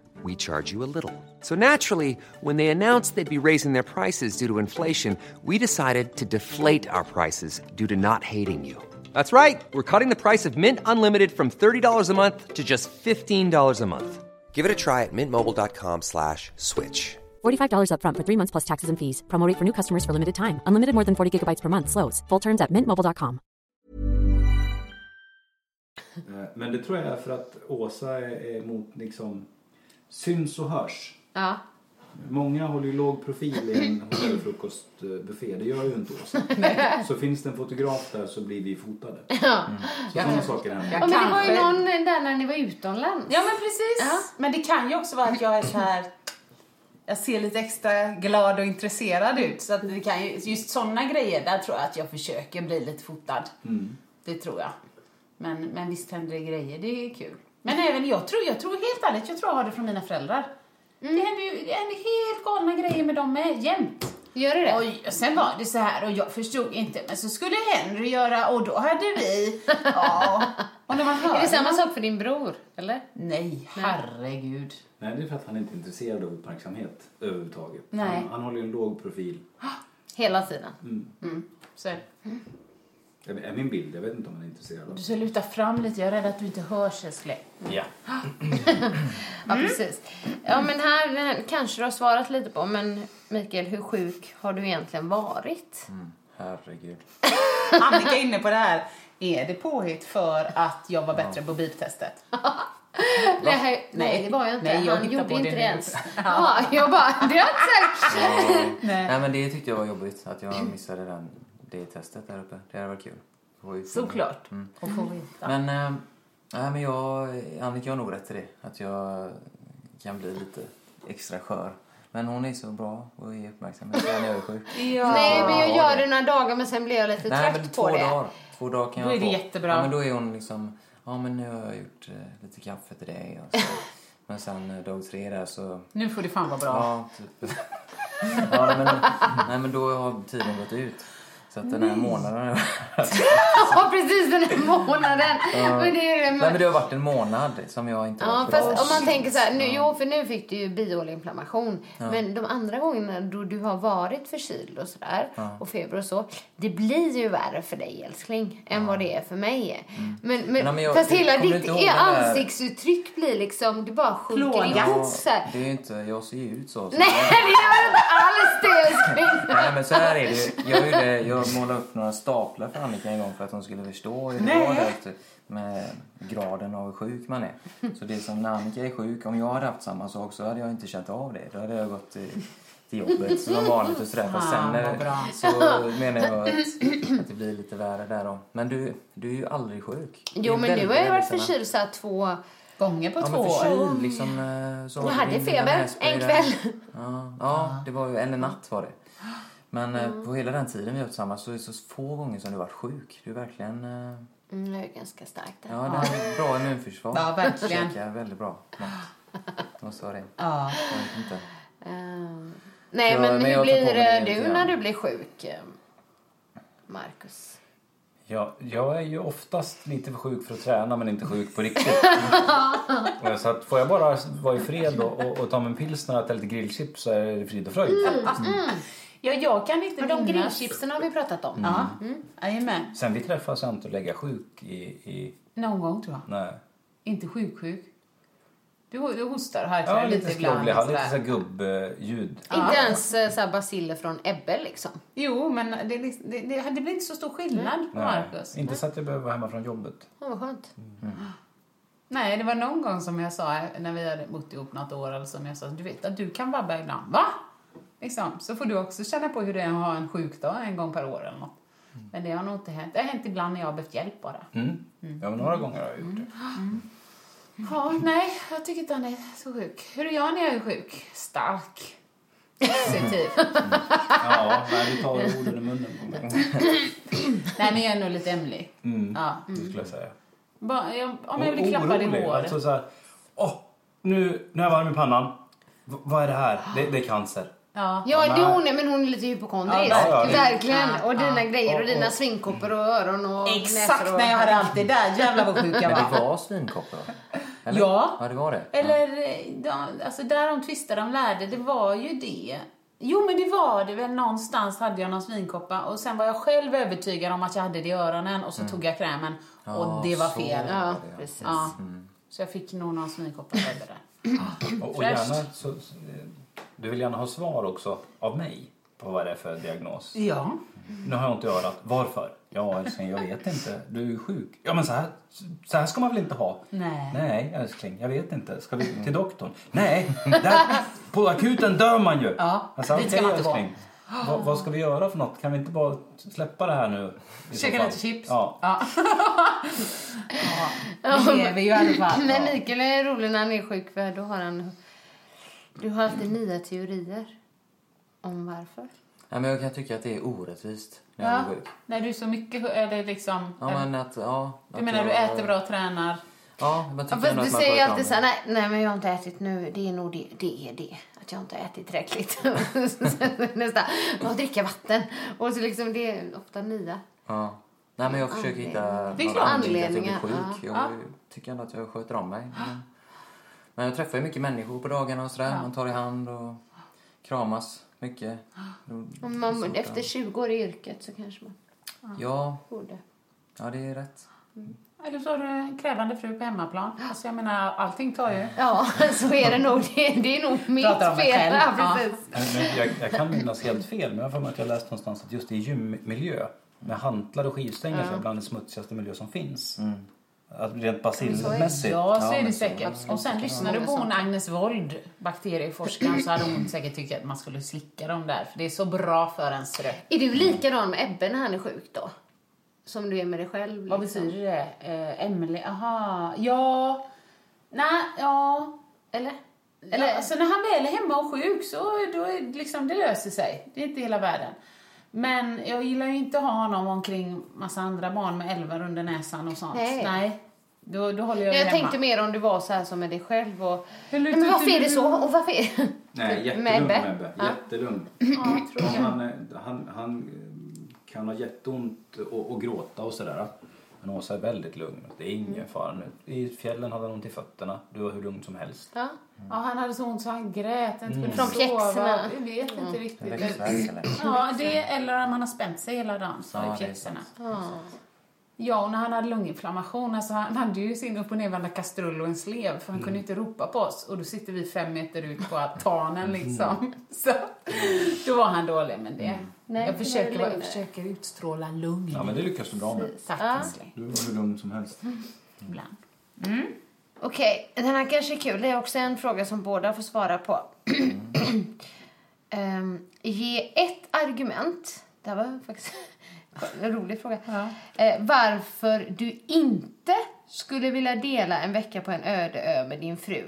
[SPEAKER 7] we charge you a little. So naturally, when they announced they'd be raising their prices due to inflation, we decided to deflate our prices due to not hating you. That's right. We're cutting the price of Mint Unlimited from $30 a month to just $15 a month. Give it a try at mintmobile.com slash switch.
[SPEAKER 8] $45 upfront for three months plus taxes and fees. Promo rate for new customers for limited time. Unlimited more than 40 gigabytes per month. Slows. Full terms at mintmobile.com.
[SPEAKER 6] Eh, Men det tror jag är för att Åsa är, är mot liksom syns och hörs.
[SPEAKER 2] Ja.
[SPEAKER 6] Många håller ju låg profil i en hotellfrukostbuffé, det gör ju inte oss. Så finns det en fotograf där så blir vi fotade. Så sådana saker händer.
[SPEAKER 2] Ja, men det var ju någon där när ni var utomlands.
[SPEAKER 3] Ja, men precis. Men det kan ju också vara att jag är så här... Jag ser lite extra glad och intresserad ut. Så att det kan ju, just sådana grejer, där tror jag att jag försöker bli lite fotad. Det tror jag. Men, men visst händer det grejer, det är kul. Men även jag tror, jag tror helt ärligt, jag tror jag har det från mina föräldrar. Det händer ju det händer helt galna grejer med dem med, jämt.
[SPEAKER 2] Gör det det?
[SPEAKER 3] Oj, och sen var det så här och jag förstod inte. Men så skulle Henry göra och då hade vi... Ja. Och när man hör...
[SPEAKER 2] Är det samma sak för din bror? Eller?
[SPEAKER 3] Nej, herregud.
[SPEAKER 6] Nej, det är för att han inte är intresserad av uppmärksamhet överhuvudtaget.
[SPEAKER 3] Nej.
[SPEAKER 6] Han, han håller ju en låg profil.
[SPEAKER 2] Hela tiden.
[SPEAKER 3] Mm. Så,
[SPEAKER 6] Det är min bild, jag vet inte om han är intresserad av
[SPEAKER 3] du ska luta fram lite, jag är rädd att du inte hörs älskling.
[SPEAKER 4] Ja.
[SPEAKER 2] Ja, precis. Ja, men här, här kanske du har svarat lite på, men Mikael, hur sjuk har du egentligen varit?
[SPEAKER 3] Mm.
[SPEAKER 5] Herregud.
[SPEAKER 3] Annika är inne på det här. Är det påhitt för att jag var bättre på biptestet?
[SPEAKER 2] Nej, nej, det var jag inte.
[SPEAKER 3] Nej, jag
[SPEAKER 2] Han
[SPEAKER 3] hittar
[SPEAKER 2] gjorde
[SPEAKER 3] på
[SPEAKER 2] inte
[SPEAKER 3] det
[SPEAKER 2] det
[SPEAKER 3] nu.
[SPEAKER 2] ens. Ja, jag bara, det har jag inte sagt.
[SPEAKER 5] Nej. Nej men det tyckte jag var jobbigt att jag missade den, det testet där uppe. Det hade varit kul. Det var ju kul.
[SPEAKER 3] Såklart.
[SPEAKER 4] Mm.
[SPEAKER 3] Och får veta.
[SPEAKER 5] Men, eh, nej, men jag, Annika har nog rätt i det. Att jag kan bli lite extra skör. Men hon är så bra och är uppmärksam. Jag är sjuk.
[SPEAKER 2] Nej, men jag
[SPEAKER 5] Ja,
[SPEAKER 2] gör
[SPEAKER 5] det.
[SPEAKER 2] det några dagar, men sen blir jag lite
[SPEAKER 5] Nej, men
[SPEAKER 2] trött
[SPEAKER 5] två
[SPEAKER 2] på det.
[SPEAKER 5] dagar. Två dagar kan
[SPEAKER 3] Då
[SPEAKER 5] jag
[SPEAKER 3] är det
[SPEAKER 5] få.
[SPEAKER 3] jättebra.
[SPEAKER 5] Ja, men då är hon liksom, ja men nu har jag gjort eh, lite kaffe till dig. Och så. men sen eh, dag tre där så,
[SPEAKER 3] Nu får det fan vara bra.
[SPEAKER 5] ja typ. ja, nej, men, nej men då har tiden gått ut. Så att den här månaden...
[SPEAKER 2] Ja, precis den här månaden. Men det är det
[SPEAKER 5] nej men det har varit en månad som jag inte har
[SPEAKER 2] Ja,
[SPEAKER 5] varit
[SPEAKER 2] fast
[SPEAKER 5] bra.
[SPEAKER 2] om man tänker så här, nu, jo för nu fick du ju biolinflammation. Men de andra gångerna då du har varit förkyld och sådär och feber och så. Det blir ju värre för dig älskling än vad det är för mig. Men, men,
[SPEAKER 5] Mm. Nej, men jag-
[SPEAKER 2] fast
[SPEAKER 5] jag
[SPEAKER 2] hela
[SPEAKER 5] kommer
[SPEAKER 2] ditt
[SPEAKER 5] inte ihåg den där-
[SPEAKER 2] ansiktsuttryck blir liksom, det bara sjunker
[SPEAKER 3] Plågat.
[SPEAKER 2] ihop så här.
[SPEAKER 5] Det är ju inte, jag ser ju ut så. så.
[SPEAKER 2] Nej, det gör inte alls det älskling.
[SPEAKER 5] Nej men så här är det ju. Jag, gjorde, jag målade upp några staplar för Annika en gång för att hon skulle förstå hur det var där ute med graden av hur sjuk man är. Så det är som när Annika är sjuk, om jag hade haft samma sak så hade jag inte känt av det. Då hade jag gått till, till jobbet som vanligt och sådär. Fast
[SPEAKER 2] Ah,
[SPEAKER 5] sen
[SPEAKER 3] vad bra.
[SPEAKER 5] när, så menar jag att, att det blir lite värre där då. Men du, du är ju aldrig sjuk. Det
[SPEAKER 2] Jo
[SPEAKER 5] är
[SPEAKER 2] men
[SPEAKER 5] väldigt,
[SPEAKER 2] nu har jag varit
[SPEAKER 5] väldigt sällan.
[SPEAKER 2] förkyld så här två
[SPEAKER 3] Gånger på
[SPEAKER 5] Ja,
[SPEAKER 3] två
[SPEAKER 5] men
[SPEAKER 3] år.
[SPEAKER 5] förkyld liksom. eh, Så
[SPEAKER 2] Jag hade
[SPEAKER 5] ringde
[SPEAKER 2] feber
[SPEAKER 5] nässpray
[SPEAKER 2] en
[SPEAKER 5] där.
[SPEAKER 2] kväll.
[SPEAKER 5] Ja, ja, det var ju en natt var det. Men eh, på hela den tiden vi har varit tillsammans så är det så få gånger som du varit sjuk. Du är verkligen... eh,
[SPEAKER 2] Mm, jag är ganska stark där.
[SPEAKER 5] Ja, du har ett bra immunförsvar.
[SPEAKER 3] Ja, verkligen.
[SPEAKER 5] Käkar väldigt bra mat. Det måste vara det.
[SPEAKER 3] Ja.
[SPEAKER 5] Jag vet inte.
[SPEAKER 2] Ehm, nej,
[SPEAKER 5] Ja,
[SPEAKER 2] men,
[SPEAKER 5] men
[SPEAKER 2] hur
[SPEAKER 5] jag tar på
[SPEAKER 2] blir
[SPEAKER 5] mig det
[SPEAKER 2] eh,
[SPEAKER 5] lite
[SPEAKER 2] du
[SPEAKER 5] grann.
[SPEAKER 2] när du blir sjuk, eh, Marcus?
[SPEAKER 4] Ja, jag är ju oftast lite för sjuk för att träna men inte sjuk på riktigt. Eh, så att får jag bara vara i fred och, och, och ta mig en pilsner och äta lite grillchips så är det frid och fröjd. Mm.
[SPEAKER 3] ja, jag kan inte
[SPEAKER 2] Men de
[SPEAKER 3] minnas. Mm.
[SPEAKER 2] grillchipsen har vi pratat om.
[SPEAKER 4] Mm.
[SPEAKER 3] Ja, jajamän.
[SPEAKER 4] Sen vi träffas har jag inte att lägga sjuk i... i
[SPEAKER 3] Någon gång tror jag.
[SPEAKER 4] nej.
[SPEAKER 3] Inte sjuksjuk. Du, du hostar och harklar
[SPEAKER 4] Ja, lite
[SPEAKER 3] ibland.
[SPEAKER 4] skrovlig. Jag har lite
[SPEAKER 3] sådär.
[SPEAKER 4] så här gubbljud.
[SPEAKER 2] Inte ens eh, så här baciller från Ebbe liksom.
[SPEAKER 3] Jo, men det, är liksom- det, det, det blir inte så stor
[SPEAKER 4] Mm.
[SPEAKER 3] skillnad på Marcus.
[SPEAKER 4] Inte så att jag behöver vara hemma från jobbet.
[SPEAKER 2] Ja, vad skönt.
[SPEAKER 3] Nej, det var någon gång som jag sa när vi hade bott ihop något år eller som jag sa, du vet att du kan vabba ibland, va? Liksom, så får du också känna på hur det är att ha en sjukdag en gång per år eller något. Men det har nog inte hänt. Det har hänt ibland när jag har behövt hjälp bara.
[SPEAKER 4] Mm. Ja, men några gånger har jag gjort det.
[SPEAKER 3] Ja, nej, jag tycker inte han är så sjuk. Hur är jag när jag är sjuk? Stark. Positiv.
[SPEAKER 4] Ja, men du tar orden i munnen på mig.
[SPEAKER 3] nej, men jag är nog lite Emily. Ja.
[SPEAKER 4] Det skulle jag säga.
[SPEAKER 3] Bara, jag, om jag
[SPEAKER 4] Mm. Och
[SPEAKER 3] blir klappad i
[SPEAKER 4] orolig.
[SPEAKER 3] håret.
[SPEAKER 4] Alltså så här, åh, nu, nu är jag varm i pannan. V vad är det här? Det, det är cancer.
[SPEAKER 3] Ja.
[SPEAKER 2] Ja, det hon är, men hon är lite hypokondrisk.
[SPEAKER 4] Ja, ja, det-
[SPEAKER 2] Verkligen. Och dina grejer och dina svinkoppor och öron och
[SPEAKER 3] Exakt
[SPEAKER 2] näsor. Och...
[SPEAKER 3] när jag hade allt det där. Jävlar vad sjuk jag
[SPEAKER 5] Men
[SPEAKER 3] var.
[SPEAKER 5] det var svinkoppor va? Eller?
[SPEAKER 3] Ja.
[SPEAKER 5] Ja, det var det.
[SPEAKER 3] Eller, eh, de, alltså där de tvistade om lärde, det var ju det. Jo, men det var det väl. Någonstans hade jag någon svinkoppa och sen var jag själv övertygad om att jag hade det i öronen och så tog jag krämen och
[SPEAKER 5] Mm. Ja, Mm.
[SPEAKER 3] det var
[SPEAKER 5] så
[SPEAKER 3] fel.
[SPEAKER 5] var det,
[SPEAKER 3] Ja.
[SPEAKER 2] Ja, precis.
[SPEAKER 3] Ja. Så jag fick nog någon svinkoppa över det.
[SPEAKER 4] Och, och
[SPEAKER 3] Fräscht.
[SPEAKER 4] gärna, så, eh, så- du vill gärna ha svar också av mig på vad det är för diagnos.
[SPEAKER 3] Ja.
[SPEAKER 4] Nu har jag inte i örat. Varför? Ja, älskling, jag vet inte. Du är sjuk. Ja, men så här, så här ska man väl inte ha?
[SPEAKER 3] Nej.
[SPEAKER 4] Nej, älskling, jag vet inte. Ska vi till doktorn? Nej, där, på akuten dör man ju.
[SPEAKER 3] Ja,
[SPEAKER 4] alltså,
[SPEAKER 3] dit ska
[SPEAKER 4] okej,
[SPEAKER 3] man inte gå.
[SPEAKER 4] älskling. Vad, vad ska vi göra för något? Kan vi inte bara släppa det här nu? i så
[SPEAKER 3] Käka
[SPEAKER 4] fall?
[SPEAKER 3] lite chips.
[SPEAKER 4] Ja.
[SPEAKER 3] Vi lever ju i alla
[SPEAKER 5] Mm.
[SPEAKER 3] fall.
[SPEAKER 2] Men Mikael är rolig när han är sjuk för då har han... Du har alltid nya teorier om varför.
[SPEAKER 5] Ja, men jag kan tycka att det är orättvist när jag
[SPEAKER 3] Ja,
[SPEAKER 5] blir sjuk.
[SPEAKER 3] när du är så mycket, eller liksom...
[SPEAKER 5] Mm. Ja, men att, ja,
[SPEAKER 3] du
[SPEAKER 5] att
[SPEAKER 3] menar du
[SPEAKER 5] jag-
[SPEAKER 3] äter bra, tränar?
[SPEAKER 5] Ja, men
[SPEAKER 2] Ja,
[SPEAKER 5] tycker
[SPEAKER 2] fast
[SPEAKER 5] ändå
[SPEAKER 2] du
[SPEAKER 5] att man
[SPEAKER 2] säger ju
[SPEAKER 5] sköter
[SPEAKER 2] alltid
[SPEAKER 5] om
[SPEAKER 2] så här,
[SPEAKER 5] det.
[SPEAKER 2] nej, nej men jag har inte ätit nu, det är nog det, det är det. Att jag inte har ätit tillräckligt. Sen Nästa, och dricka vatten. Och så liksom, det är ofta nya.
[SPEAKER 5] Ja. Nej, men jag försöker hitta
[SPEAKER 2] Anledningar. Det är
[SPEAKER 5] någon
[SPEAKER 2] klart.
[SPEAKER 5] anledning att jag blir sjuk.
[SPEAKER 2] Anledningar,
[SPEAKER 5] Jag tycker ändå att jag sköter om mig. Men, men jag träffar ju mycket människor på dagarna och sådär. Man tar i hand och kramas mycket.
[SPEAKER 2] Om man, efter 20 år i yrket så kanske man
[SPEAKER 5] Ja,
[SPEAKER 2] borde.
[SPEAKER 5] ja det är rätt.
[SPEAKER 3] Eller så har du en krävande fru på hemmaplan. Alltså jag menar, allting tar ju...
[SPEAKER 2] Ja, så är det nog. Det, det är nog mitt
[SPEAKER 3] Pratar om mig
[SPEAKER 2] fel.
[SPEAKER 3] själv.
[SPEAKER 2] Ja,
[SPEAKER 3] Ja.
[SPEAKER 2] precis.
[SPEAKER 4] Men- men Jag, jag kan minnas helt fel, men jag har för mig att jag läste någonstans att just i gymmiljö med hantlar och skivstänger så är det bland den smutsigaste miljö som finns. Att rent bacillmässigt.
[SPEAKER 3] Ja, så är det säkert. Och sen lyssnade du på hon Agnes Wold, bakterieforskaren, så hade hon säkert tyckt att man skulle slicka dem där. För det är så bra för ens rött.
[SPEAKER 2] Är du likadan med Ebbe när han är sjuk då? Som du är med dig själv?
[SPEAKER 3] Vad
[SPEAKER 2] liksom?
[SPEAKER 3] betyder det? Eh, Emily, aha, ja... Nej, ja...
[SPEAKER 2] Eller?
[SPEAKER 3] Eller, alltså när han väl är hemma och sjuk så då är det liksom, det löser sig. Det är inte hela världen. Men jag gillar ju inte att ha honom omkring massa andra barn med elvar under näsan och sånt.
[SPEAKER 2] Nej.
[SPEAKER 3] Då, då håller jag,
[SPEAKER 2] Jag,
[SPEAKER 3] ju hemma.
[SPEAKER 2] tänkte mer om du var så här som med dig själv och... Nej,
[SPEAKER 3] Hur lutar
[SPEAKER 2] men varför
[SPEAKER 3] du-
[SPEAKER 2] är det så? Och varför är...
[SPEAKER 6] Nej,
[SPEAKER 2] Typ
[SPEAKER 6] jättelugn
[SPEAKER 2] med
[SPEAKER 6] med
[SPEAKER 2] Ebbe.
[SPEAKER 6] Ebbe.
[SPEAKER 2] Ja.
[SPEAKER 6] Jättelugn. Om han, eh, han, han eh, kan ha jätteont och, och gråta och sådär.
[SPEAKER 4] Men Åsa är väldigt lugn. Det är ingen fara nu. I fjällen hade han ont i fötterna. Du var hur lugn som helst.
[SPEAKER 2] Ja.
[SPEAKER 3] Ja, han hade så ont så han grät, inte kunde
[SPEAKER 2] Från pjäxorna.
[SPEAKER 3] Vi vet inte
[SPEAKER 5] En
[SPEAKER 3] riktigt.
[SPEAKER 5] växtvärk eller?
[SPEAKER 3] Ja, det eller om han har spänt sig hela dagen så
[SPEAKER 5] Ja, det
[SPEAKER 3] i
[SPEAKER 5] är
[SPEAKER 3] pjäxorna.
[SPEAKER 2] Ja.
[SPEAKER 3] Ja, och när han hade lunginflammation, alltså han hade ju sin upp och nervända kastrull och en slev för han kunde ju inte ropa på oss och då sitter vi fem meter ut på altanen liksom. Så då var han dålig men det.
[SPEAKER 2] Nej,
[SPEAKER 3] jag,
[SPEAKER 2] det
[SPEAKER 3] försöker,
[SPEAKER 2] var
[SPEAKER 3] vara- jag
[SPEAKER 2] lugnare.
[SPEAKER 3] försöker utstråla lugn.
[SPEAKER 4] Ja, men det lyckas du bra med.
[SPEAKER 3] Tack älskling.
[SPEAKER 6] Du var hur lugn som helst.
[SPEAKER 3] Ibland.
[SPEAKER 2] Okej, den här kanske är kul. Det är också en fråga som båda får svara på. Ehm, ge ett argument. Det här var faktiskt en rolig fråga. Eh, varför du inte skulle vilja dela en vecka på en öde ö med din fru.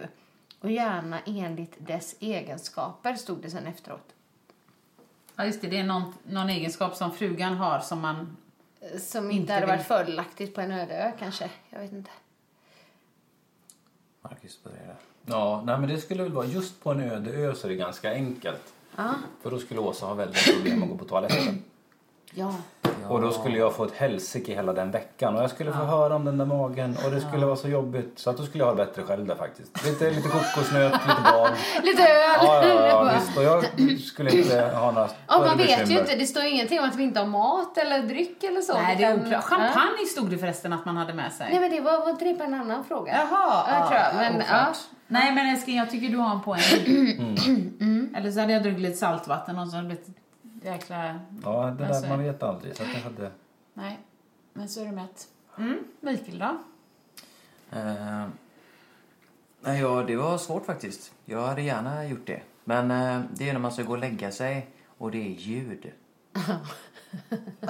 [SPEAKER 2] Och gärna enligt dess egenskaper, stod det sen efteråt.
[SPEAKER 3] Ja, just det, det är någon, någon egenskap som frugan har som man...
[SPEAKER 2] Eh, Som inte,
[SPEAKER 3] Inte
[SPEAKER 2] hade
[SPEAKER 3] vill-
[SPEAKER 2] varit fördelaktigt på en öde ö kanske. Jag vet inte.
[SPEAKER 5] Marcus började.
[SPEAKER 4] Ja, nej, men det skulle väl vara just på en öde ö så är det ganska enkelt. För då skulle Åsa ha väldigt problem att gå på toaletten.
[SPEAKER 2] Ja.
[SPEAKER 4] Och då skulle jag få ett helsike hela den veckan och jag skulle få höra om den där magen och det skulle vara så jobbigt så att då skulle jag ha det bättre själv där faktiskt. Lite, lite kokosnöt, lite barn.
[SPEAKER 2] Lite öl!
[SPEAKER 4] Ja, ja,
[SPEAKER 2] Jag
[SPEAKER 4] ja
[SPEAKER 2] bara-
[SPEAKER 4] visst. Och jag skulle inte ha
[SPEAKER 2] Ja,
[SPEAKER 4] några större
[SPEAKER 2] man vet ju
[SPEAKER 4] bekymmer.
[SPEAKER 2] inte. Det står ju ingenting om att vi inte har mat eller dryck eller så.
[SPEAKER 3] Nej,
[SPEAKER 2] Vi
[SPEAKER 3] det är
[SPEAKER 2] kan-
[SPEAKER 3] oklart.
[SPEAKER 2] Ja.
[SPEAKER 3] Champagne stod det förresten att man hade med sig.
[SPEAKER 2] Nej, men det var, var inte det på en annan fråga?
[SPEAKER 3] Jaha,
[SPEAKER 2] Ja, jag tror jag. Men, ja.
[SPEAKER 3] oklart. Nej men älskling, jag tycker du har en poäng. Eller så hade jag druckit lite saltvatten och så hade det blivit jäkla...
[SPEAKER 4] Ja, det
[SPEAKER 3] Alltså-
[SPEAKER 4] där, man vet aldrig. Så att jag hade...
[SPEAKER 3] Nej, men så är det mätt. Mm, Mikael då?
[SPEAKER 5] Eh, nej, ja, det var svårt faktiskt. Jag hade gärna gjort det. Men eh, det är när man ska gå och lägga sig och det är ljud.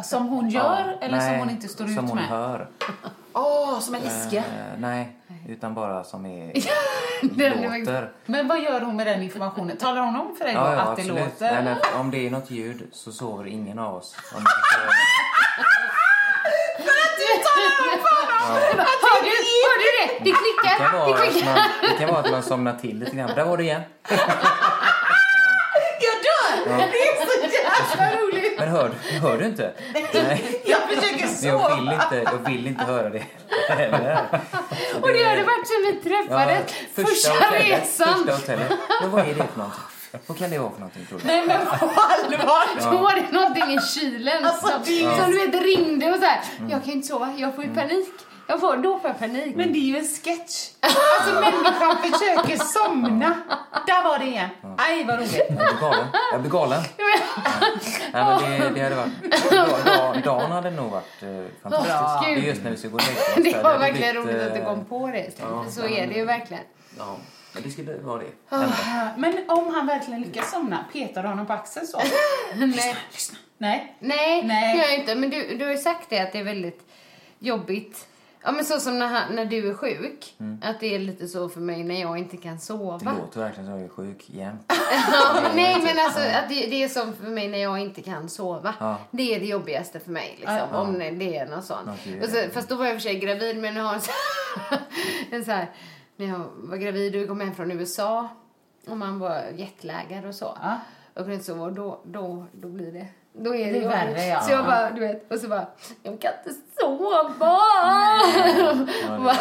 [SPEAKER 3] Som hon gör
[SPEAKER 5] Ja,
[SPEAKER 3] eller som
[SPEAKER 5] nej,
[SPEAKER 3] hon inte står ut
[SPEAKER 5] Som hon
[SPEAKER 3] med?
[SPEAKER 5] hör.
[SPEAKER 3] Åh, som en iske.
[SPEAKER 5] Eh, nej, utan bara som är
[SPEAKER 2] Den är
[SPEAKER 5] låter.
[SPEAKER 3] Men vad gör hon med den informationen? Talar hon om för dig då
[SPEAKER 5] Ja, ja,
[SPEAKER 3] att
[SPEAKER 5] absolut.
[SPEAKER 3] det låter?
[SPEAKER 5] Nej, nej, om det är något ljud så sover ingen av oss. Om det-
[SPEAKER 2] Hör du, hör du det? Det
[SPEAKER 5] det, kan
[SPEAKER 2] klickar.
[SPEAKER 5] vara
[SPEAKER 2] Det
[SPEAKER 5] att
[SPEAKER 2] klickar.
[SPEAKER 5] man, det kan vara att man somnar till lite grann. Där var det igen.
[SPEAKER 3] Jag dör! Det är så jävla roligt!
[SPEAKER 5] Men hör, du- hör du inte? Nej,
[SPEAKER 3] Jag försöker
[SPEAKER 5] men jag vill
[SPEAKER 3] sova.
[SPEAKER 5] inte, jag vill inte höra det.
[SPEAKER 2] Och det har det varit sen vi träffades. första
[SPEAKER 5] hotellet,
[SPEAKER 2] resan.
[SPEAKER 5] Första hotellet. Men vad är det för någonting? Vad kan det vara för någonting tror du?
[SPEAKER 3] Nej men på allvar!
[SPEAKER 2] Då var det någonting i kylen
[SPEAKER 3] Alltså,
[SPEAKER 2] som, som du vet ringde och så här.
[SPEAKER 5] Mm.
[SPEAKER 2] Jag kan ju inte sova. Jag får ju panik. Jag får, då får jag panik.
[SPEAKER 3] Men det är ju en sketch. Alltså människan försöker somna. Där var det igen. Aj vad roligt.
[SPEAKER 5] Jag blir galen. Jag blir galen.
[SPEAKER 2] Ja, men-
[SPEAKER 5] Nej, men det, det hade varit... Da- da- Dagen hade nog varit eh, fantastisk.
[SPEAKER 2] Bra.
[SPEAKER 5] Det är just när vi ska gå och lägga oss. där.
[SPEAKER 2] Det var
[SPEAKER 5] hade
[SPEAKER 2] verkligen
[SPEAKER 5] blivit,
[SPEAKER 2] roligt att du
[SPEAKER 5] eh,
[SPEAKER 2] kom på det. För så
[SPEAKER 5] men-
[SPEAKER 2] är det ju verkligen.
[SPEAKER 5] Ja, men det skulle vara det.
[SPEAKER 3] Ah, Men om han verkligen lyckas somna, petar du honom på axeln så?
[SPEAKER 2] Nej,
[SPEAKER 3] Lyssna. Nej.
[SPEAKER 2] nej,
[SPEAKER 3] Nej.
[SPEAKER 2] det gör jag inte. Men du, du har ju sagt det att det är väldigt jobbigt. Ja, men så som när, han, när du är sjuk. Att det är lite så för mig när jag inte kan
[SPEAKER 5] Det
[SPEAKER 2] sova.
[SPEAKER 5] låter verkligen som att jag är sjuk jämt.
[SPEAKER 2] Ja, nej, men alltså att det, det är som för mig när jag inte kan sova.
[SPEAKER 5] Ja.
[SPEAKER 2] Det är det jobbigaste för mig, liksom, om det är något sånt.
[SPEAKER 5] Okej.
[SPEAKER 2] Och så, fast då var jag i och för sig gravid, men jag har en så, en så här... När jag var gravid och kom hem från USA och man var jetlaggad och så.
[SPEAKER 3] Ja.
[SPEAKER 2] Och kunde inte sova, och då, då, då blir det... Då är det,
[SPEAKER 3] är värre,
[SPEAKER 2] jobbigt.
[SPEAKER 3] ja.
[SPEAKER 2] Så jag bara, du vet, och så bara, jag kan inte sova! Bara-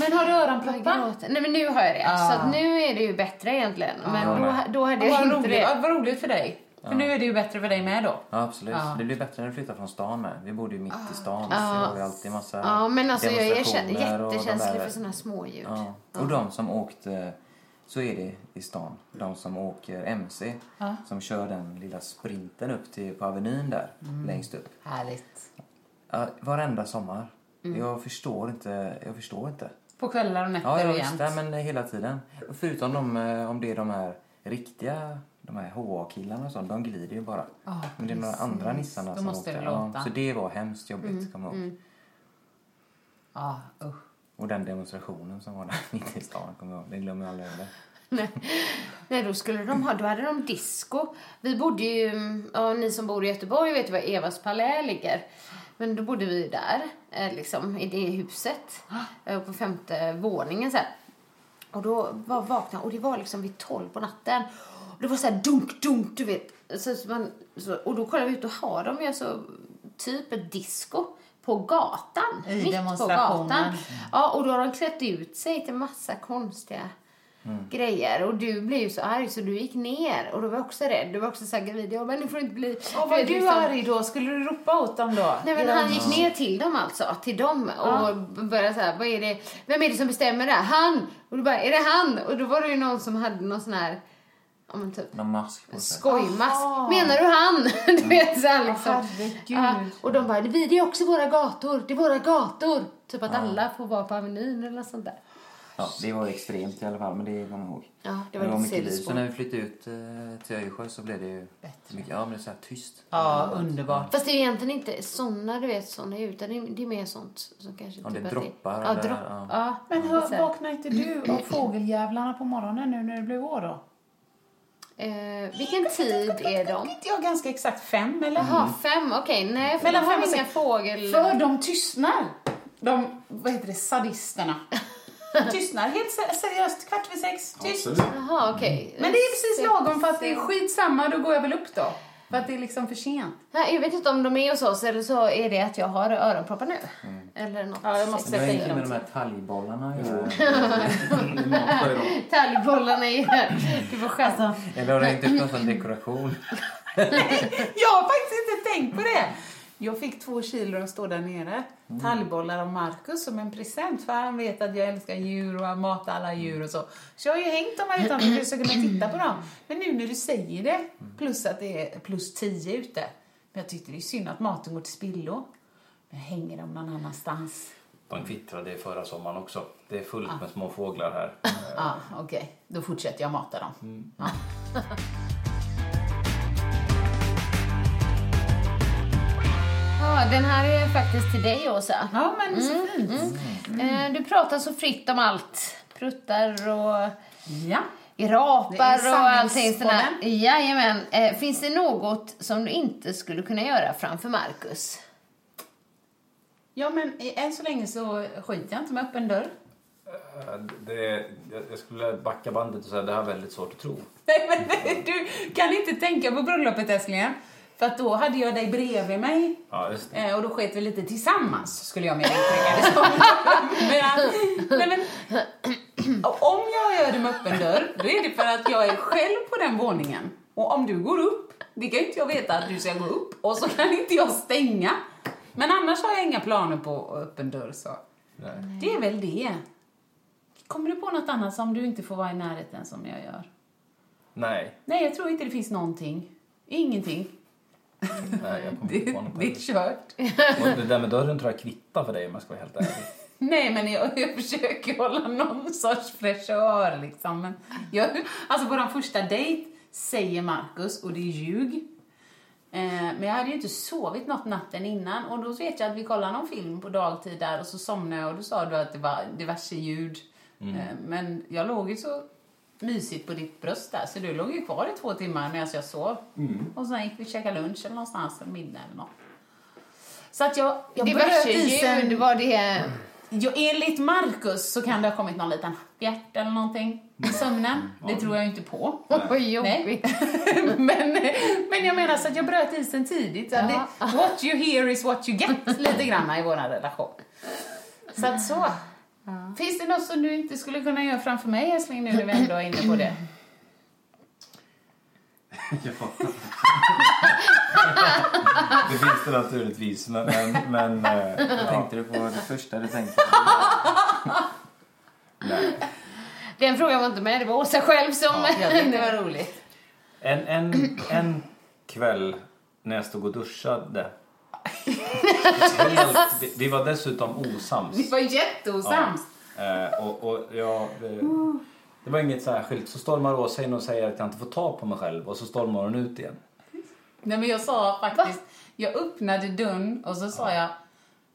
[SPEAKER 3] Men har du öronproppar?
[SPEAKER 2] Gråter. Nej men nu har jag det. Så att nu är det ju bättre egentligen. Men då, då hade jag
[SPEAKER 3] Vad
[SPEAKER 2] inte
[SPEAKER 3] roligt,
[SPEAKER 2] det.
[SPEAKER 3] vad roligt för dig. För nu är det ju bättre för dig med då.
[SPEAKER 5] Ja, absolut. Det blir bättre när du flyttar från stan med. Vi bodde ju mitt i stan. Så det var ju alltid massa
[SPEAKER 2] Ja, men alltså jag är kä-
[SPEAKER 5] demonstrationer och de
[SPEAKER 2] jättekänslig
[SPEAKER 5] där-
[SPEAKER 2] för såna småljud.
[SPEAKER 5] Ja. Och de som åkte, så är det i stan, de som åker MC som kör den lilla sprinten upp till, på Avenyn där,
[SPEAKER 3] Mm.
[SPEAKER 5] längst upp.
[SPEAKER 3] Härligt.
[SPEAKER 5] Ja, varenda sommar.
[SPEAKER 3] Mm.
[SPEAKER 5] Jag förstår inte. Jag förstår inte.
[SPEAKER 3] På kvällar och nätter
[SPEAKER 5] Ja, ja
[SPEAKER 3] och
[SPEAKER 5] visst.
[SPEAKER 3] jämt.
[SPEAKER 5] Nej, men hela tiden. Och Förutom de, eh, om det är de här riktiga de här HA-killarna och sånt, de glider ju bara. men det är några andra nissarna
[SPEAKER 3] Då
[SPEAKER 5] som
[SPEAKER 3] måste
[SPEAKER 5] åkte.
[SPEAKER 3] det
[SPEAKER 5] Ja,
[SPEAKER 3] låta. Mm,
[SPEAKER 5] så det var hemskt jobbigt, kommer jag ihåg.
[SPEAKER 3] Ja, usch.
[SPEAKER 5] Och den demonstrationen som var där mitt i stan, kommer jag ihåg. Det glömmer jag aldrig heller.
[SPEAKER 2] Nej. Nej, då skulle de ha, då hade de disco. Vi bodde ju, ja ni som bor i Göteborg vet ju var Evas palä ligger. Men då bodde vi där, eh, liksom i det huset. eh, På femte våningen så här. Och då var vakna och det var liksom vid tolv på natten. Och det var så här dunk, dunk, du vet. Så, så man, så, och då kollade vi ut och har de ju alltså typ ett disco på gatan.
[SPEAKER 3] I
[SPEAKER 2] mitt på
[SPEAKER 3] demonstrationen.
[SPEAKER 2] gatan. Ja, och då har de klätt ut sig till massa konstiga grejer. Och du blev ju så arg så du gick ner. Och då var jag också rädd. Du var också så här gravid. Jag bara, nu får du inte bli...
[SPEAKER 3] Och
[SPEAKER 2] Du
[SPEAKER 3] var
[SPEAKER 2] vet,
[SPEAKER 3] du
[SPEAKER 2] liksom-
[SPEAKER 3] arg då? Skulle du ropa åt dem då?
[SPEAKER 2] Nej, men han gick ner till dem alltså, till dem och började så här, vad är det, vem är det som bestämmer det? här? Han! Och du bara, är det han? Och då var det ju någon som hade någon sån här, ja men typ
[SPEAKER 5] Någon mask på sig.
[SPEAKER 2] skojmask.
[SPEAKER 3] Aha.
[SPEAKER 2] Menar du han? du vet så här liksom.
[SPEAKER 3] herregud.
[SPEAKER 2] Ja, och de bara, vi det är också våra gator, det är våra gator. Typ att alla får vara på Avenyn eller något sånt där.
[SPEAKER 5] Ja, det var extremt i alla fall, men det kommer jag ihåg.
[SPEAKER 2] Ja, det var
[SPEAKER 5] Men
[SPEAKER 2] lite
[SPEAKER 5] mycket liv.
[SPEAKER 2] sidospår.
[SPEAKER 5] Så när vi flyttade ut eh, till Öjersjö så blev det ju... Bättre. Mycket, ja, men det är så här tyst.
[SPEAKER 3] Ja, underbart.
[SPEAKER 2] Fast det är ju egentligen inte såna du vet, såna ljud, utan det är, det är mer sånt som kanske...
[SPEAKER 5] Ja, det
[SPEAKER 2] att
[SPEAKER 5] droppar
[SPEAKER 2] Ja,
[SPEAKER 5] eller-
[SPEAKER 2] dropp,
[SPEAKER 5] ja.
[SPEAKER 2] ja.
[SPEAKER 3] Men
[SPEAKER 2] Så
[SPEAKER 3] hör,
[SPEAKER 2] här.
[SPEAKER 3] vaknar inte du av fågeljävlarna på morgonen nu när det blir vår då?
[SPEAKER 2] Eh, vilken tid är de?
[SPEAKER 3] Inte jag ganska exakt fem eller?
[SPEAKER 2] Jaha,
[SPEAKER 5] Mm.
[SPEAKER 2] fem, okej. Nej, för
[SPEAKER 3] Mellan
[SPEAKER 2] de har
[SPEAKER 3] fem och
[SPEAKER 2] inga
[SPEAKER 3] sex.
[SPEAKER 2] fågel...
[SPEAKER 3] För de tystnar. De, vad heter det, sadisterna. tystnar helt se- seriöst kvart vid sex. Tyst.
[SPEAKER 6] Absolut.
[SPEAKER 2] Jaha, okej.
[SPEAKER 3] Men det är precis lagom för att det är skitsamma, då går jag väl upp då. För att det är liksom för sent.
[SPEAKER 2] Nej, jag vet inte om de är hos oss eller så är det att jag har öronproppar nu.
[SPEAKER 5] Mm.
[SPEAKER 2] Eller något.
[SPEAKER 3] Ja, jag måste
[SPEAKER 5] Det har
[SPEAKER 3] sätta in
[SPEAKER 5] inget med
[SPEAKER 3] dem.
[SPEAKER 5] de här talgbollarna att göra.
[SPEAKER 6] Du matar ju dem.
[SPEAKER 2] Talgbollarna är Du får chansa.
[SPEAKER 5] Eller har det inte upp någon sån dekoration?
[SPEAKER 3] Jag har faktiskt inte tänkt på det. Jag fick två kilo och står där nere. Tallbollar av Markus som en present för han vet att jag älskar djur och jag matar alla djur och så. Så jag har ju hängt dem här utanför för att jag ska kunna titta på dem. Men nu när du säger det, plus att det är plus 10 ute. Men jag tyckte det är synd att maten går till spillo. Men jag hänger dem någon annanstans.
[SPEAKER 4] De kvittrade förra sommaren också. Det är fullt med små fåglar här.
[SPEAKER 3] Ja, okej. Då fortsätter jag mata dem. Ja.
[SPEAKER 2] Ja, den här är faktiskt till dig, Åsa.
[SPEAKER 3] Ja, men så fint. Mm.
[SPEAKER 2] Eh, Du pratar så fritt om allt. Pruttar och
[SPEAKER 3] Ja. Det
[SPEAKER 2] rapar
[SPEAKER 3] är
[SPEAKER 2] och allting sånt där.
[SPEAKER 3] sanningspodden.
[SPEAKER 2] Jajamän. Eh, Finns det något som du inte skulle kunna göra framför Markus?
[SPEAKER 3] Ja, men i- än så länge så skiter jag inte med öppen dörr.
[SPEAKER 4] Eh, Det, jag jag skulle backa bandet och säga att det här är väldigt svårt att tro.
[SPEAKER 3] Nej, men du kan inte tänka på bröllopet älsklingen. För att då hade jag dig bredvid mig.
[SPEAKER 4] Ja, just det.
[SPEAKER 3] Eh, Och då sket vi lite tillsammans, skulle jag mer uttrycka det som. men, eh, nej, men, och om jag gör det med öppen dörr, då är det för att jag är själv på den våningen. Och om du går upp, det kan ju inte jag veta att du ska gå upp, och så kan inte jag stänga. Men annars har jag inga planer på öppen dörr. Så.
[SPEAKER 4] Nej.
[SPEAKER 3] Det är väl det. Kommer du på något annat som du inte får vara i närheten som jag gör?
[SPEAKER 4] Nej.
[SPEAKER 3] Nej, jag tror inte det finns någonting. Ingenting.
[SPEAKER 4] Nej, jag kommer inte
[SPEAKER 3] Det,
[SPEAKER 4] på något.
[SPEAKER 3] det är kört.
[SPEAKER 4] Och det där med dörren tror jag kvittar för dig om jag ska vara helt ärlig.
[SPEAKER 3] Nej, men jag, jag försöker hålla någon sorts fräschör liksom. Men jag, alltså på den första dejt säger Markus, och det är ljug. Eh, men jag hade ju inte sovit något natten innan och då vet jag att vi kollade någon film på dagtid där och så somnade jag och då sa du att det var diverse ljud. Eh, men jag låg ju så mysigt på ditt bröst där så du låg ju kvar i två timmar medan jag sov. Och sen gick vi och käkade lunch eller någonstans, eller middag eller något. Så att jag, jag
[SPEAKER 2] Diverse
[SPEAKER 3] bröt isen Mm.
[SPEAKER 2] ljud var det.
[SPEAKER 3] Jo, enligt Marcus så kan det ha kommit någon liten hjärt eller någonting i sömnen. Det tror jag ju inte på.
[SPEAKER 2] Vad
[SPEAKER 3] Nej.
[SPEAKER 2] jobbigt.
[SPEAKER 3] men, men jag menar så att jag bröt isen tidigt. Så att det, what you hear is what you get lite grann i vår relation. Så att så. Finns det något som du inte skulle kunna göra framför mig älskling nu när vi ändå är inne på det?
[SPEAKER 4] Ja. det finns det naturligtvis, men... men, men eh,
[SPEAKER 5] Vad tänkte du på det första du tänkte på?
[SPEAKER 4] nej.
[SPEAKER 2] Den frågan var inte med, det var Åsa själv som...
[SPEAKER 3] det var roligt.
[SPEAKER 4] En, en, en kväll när jag stod och duschade... Helt, vi- vi var dessutom osams.
[SPEAKER 3] Vi var jätteosams.
[SPEAKER 4] Eh, och, och jag, eh, det var inget särskilt. Så stormar Åsa in och säger att jag inte får ta på mig själv och så stormar hon ut igen.
[SPEAKER 3] Nej men jag sa faktiskt, jag öppnade dörren och så sa jag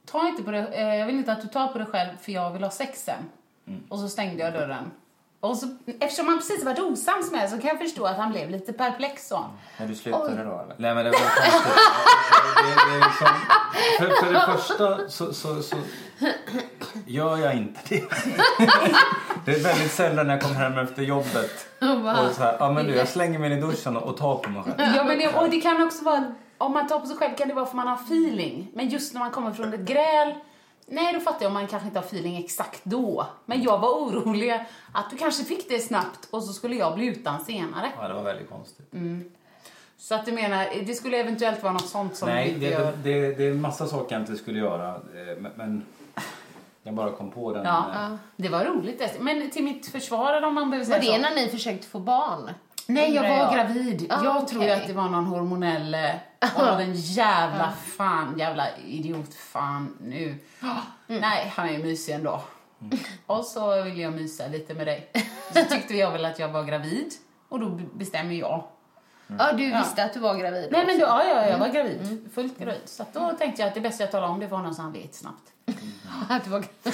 [SPEAKER 3] ta inte på det, eh, jag vill inte att du tar på dig själv för jag vill ha sex sen. Och så stängde jag dörren. Och så, eftersom han precis varit osams med så kan jag förstå att han blev lite perplex så.
[SPEAKER 5] När du slutade då eller?
[SPEAKER 4] Nej men det var konstigt. det, det är liksom, för, för det första så, så, så gör jag inte det. Det är väldigt sällan när jag kommer hem efter jobbet och så här, ja men du jag slänger mig in i duschen och, och tar på mig själv.
[SPEAKER 3] Ja, men det, och det kan också vara, om man tar på sig själv kan det vara för man har feeling. Men just när man kommer från ett gräl, nej då fattar jag om man kanske inte har feeling exakt då. Men jag var orolig att du kanske fick det snabbt och så skulle jag bli utan senare.
[SPEAKER 4] Ja det var väldigt konstigt.
[SPEAKER 3] Så att du menar, det skulle eventuellt vara något sånt som du
[SPEAKER 4] Nej
[SPEAKER 3] inte
[SPEAKER 4] det,
[SPEAKER 3] gör?
[SPEAKER 4] det, det, det är en massa saker jag inte skulle göra eh, men, men jag bara kom på den.
[SPEAKER 3] Ja,
[SPEAKER 4] eh,
[SPEAKER 3] det var roligt. dessutom. Men till mitt försvar eller om man behöver
[SPEAKER 2] Var
[SPEAKER 3] säga
[SPEAKER 2] det
[SPEAKER 3] så.
[SPEAKER 2] när ni försökte få barn?
[SPEAKER 3] Nej, jag var
[SPEAKER 2] Undrar jag.
[SPEAKER 3] gravid.
[SPEAKER 2] Ah,
[SPEAKER 3] jag
[SPEAKER 2] okej.
[SPEAKER 3] tror ju att det var någon hormonell... eh, Av en jävla fan, jävla idiot fan nu. Mm. Nej, han är ju mysig ändå.
[SPEAKER 4] Mm.
[SPEAKER 3] Och så ville jag mysa lite med dig. Så tyckte jag väl att jag var gravid. Och då b- bestämmer jag.
[SPEAKER 2] Ja, du visste att du var gravid
[SPEAKER 3] Nej men då, ja, ja, jag var gravid. Mm. Fullt gravid. Så att då tänkte jag att det bästa jag talar om det var någon som han vet snabbt.
[SPEAKER 2] Att du var gravid.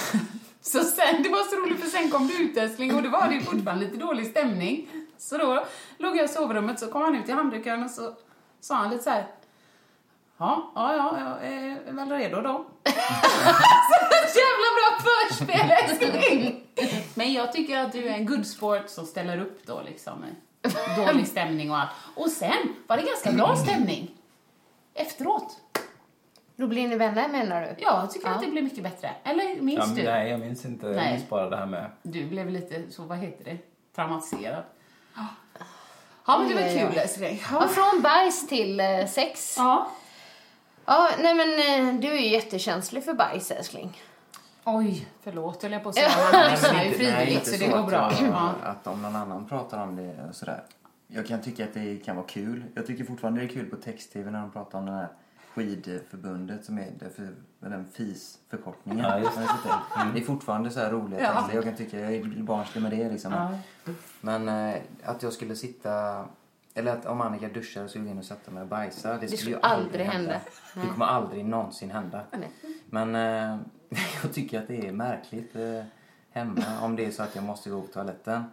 [SPEAKER 3] Så sen, det var så roligt för sen kom du ut älskling och det var det ju fortfarande lite dålig stämning. Så då låg jag i sovrummet så kom han ut i handduken och så sa han lite så här. Ja, ja, ja, jag är väl redo då. så jävla bra förspel älskling! Men jag tycker att du är en good sport som ställer upp då liksom. eh, Dålig stämning och allt. Och sen var det ganska bra stämning. Efteråt.
[SPEAKER 2] Då blir ni vänner menar du?
[SPEAKER 3] Ja, jag tycker att det blev mycket bättre. Eller
[SPEAKER 4] ja,
[SPEAKER 3] minns
[SPEAKER 4] men
[SPEAKER 3] du?
[SPEAKER 4] nej jag minns inte, jag
[SPEAKER 3] Nej.
[SPEAKER 4] minns bara det här med
[SPEAKER 3] Du blev lite, så vad heter det, traumatiserad. Ja, men det var
[SPEAKER 2] Oj, oj, oj.
[SPEAKER 3] kul älskling.
[SPEAKER 2] Ja, från bajs till eh, sex.
[SPEAKER 3] Ja.
[SPEAKER 2] Ja, nej men eh, du är ju jättekänslig för bajs älskling.
[SPEAKER 3] Oj, förlåt höll jag på att säga. Han lyssnar ju frivilligt så det går bra.
[SPEAKER 5] Att,
[SPEAKER 3] Ja.
[SPEAKER 5] att om någon annan pratar om det och sådär. Jag kan tycka att det kan vara kul. Jag tycker fortfarande det är kul på text-tv när de pratar om det här skidförbundet som är det för, med den FIS-förkortningen.
[SPEAKER 4] Ja, just
[SPEAKER 3] Mm.
[SPEAKER 5] Det är fortfarande så här roliga texter. Jag kan tycka jag är barnslig med det liksom. Men eh, att jag skulle sitta... Eller att om Annika duschar så går jag in och sätter mig och bajsar. Det skulle,
[SPEAKER 2] skulle
[SPEAKER 5] ju
[SPEAKER 2] aldrig hända.
[SPEAKER 5] Det kommer aldrig någonsin hända. Men eh, jag tycker att det är märkligt eh, hemma om det är så att jag måste gå på toaletten.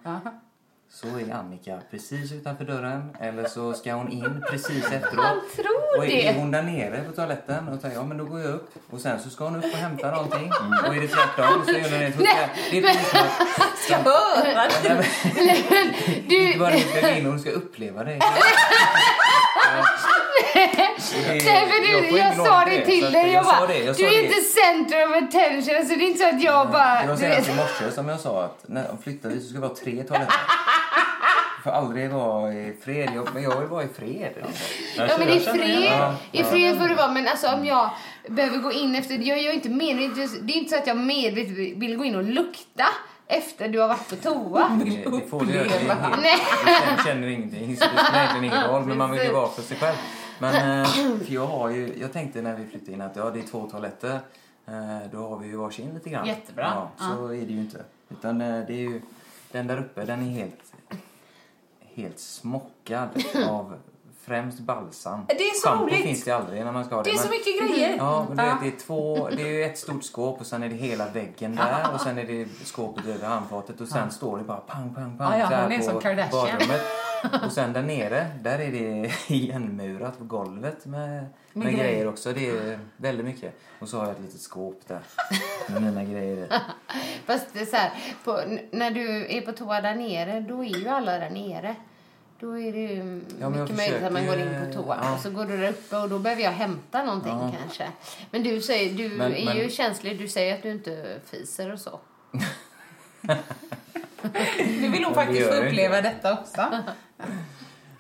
[SPEAKER 5] Så är Annika precis utanför dörren eller så ska hon in precis efteråt.
[SPEAKER 2] Han tror
[SPEAKER 5] och är,
[SPEAKER 2] det.
[SPEAKER 5] är hon där nere på toaletten och säger ja men då går jag upp och sen så ska hon upp och hämta någonting och är det tvärtom så gör hon det. Det är precis som att
[SPEAKER 3] Ska höra!
[SPEAKER 5] inte bara hon ska gå in och hon ska uppleva det.
[SPEAKER 2] Nej, men du, jag, sa det till dig. Jag, bara, du är inte centrum of attention. Alltså, det är inte så att jag bara...
[SPEAKER 5] Det var
[SPEAKER 2] du vet.
[SPEAKER 5] senast i morse som jag sa att när flyttar vi så ska vi ha tre toaletter. Jag får aldrig vara i fred. Jag, men jag vill vara i fred.
[SPEAKER 2] Ja men i
[SPEAKER 4] Jag känner igen
[SPEAKER 2] fred, i fred får det vara men alltså om jag behöver gå in efter, jag gör inte medvetet, det är inte så att jag medvetet vill gå in och lukta efter du har varit på toa.
[SPEAKER 5] Det, det får du göra. Det, är helt-
[SPEAKER 2] Nej.
[SPEAKER 5] du känner- känner ingenting. så Det spelar egentligen ingen roll, men man vill ju vara för sig själv. Men eh, för jag har ju, jag tänkte när vi flyttade in att ja, det är två toaletter. Eh, Då har vi ju varsin lite grann.
[SPEAKER 3] Jättebra.
[SPEAKER 5] Ja, så är det ju inte. Utan eh, det är ju, den där uppe den är helt, helt smockad av främst balsam.
[SPEAKER 3] Det är så
[SPEAKER 5] Shampoo
[SPEAKER 3] roligt.
[SPEAKER 5] finns det aldrig när man ska ha det.
[SPEAKER 3] Det är så
[SPEAKER 5] men-
[SPEAKER 3] mycket grejer.
[SPEAKER 5] Ja, men du vet, det, är två, det är ju ett stort skåp och sen är det hela väggen där och sen är det skåpet över handfatet och sen står det bara pang, pang, pang
[SPEAKER 3] Ja, ja,
[SPEAKER 5] så här
[SPEAKER 3] hon är
[SPEAKER 5] på
[SPEAKER 3] som Kardashian.
[SPEAKER 5] badrummet. Och sen där nere, där är det igenmurat på golvet med, med,
[SPEAKER 3] grejer.
[SPEAKER 5] grejer. också. Det är väldigt mycket. Och så har jag ett litet skåp där med mina grejer i.
[SPEAKER 2] Fast det är så här, på, n- när du är på toa där nere, då är ju alla där nere. Då är det ju
[SPEAKER 5] jag
[SPEAKER 2] mycket möjligt att man går
[SPEAKER 5] försöker ju-
[SPEAKER 2] in på toa.
[SPEAKER 5] ja.
[SPEAKER 2] Och så går du där uppe och då behöver jag hämta någonting kanske. Men du, säger, du
[SPEAKER 5] Men-
[SPEAKER 2] är
[SPEAKER 5] men-
[SPEAKER 2] ju känslig, du säger att du inte fiser och så.
[SPEAKER 3] Nu vill hon
[SPEAKER 5] Men det
[SPEAKER 3] faktiskt
[SPEAKER 5] gör
[SPEAKER 3] få
[SPEAKER 5] jag inte.
[SPEAKER 3] uppleva detta också.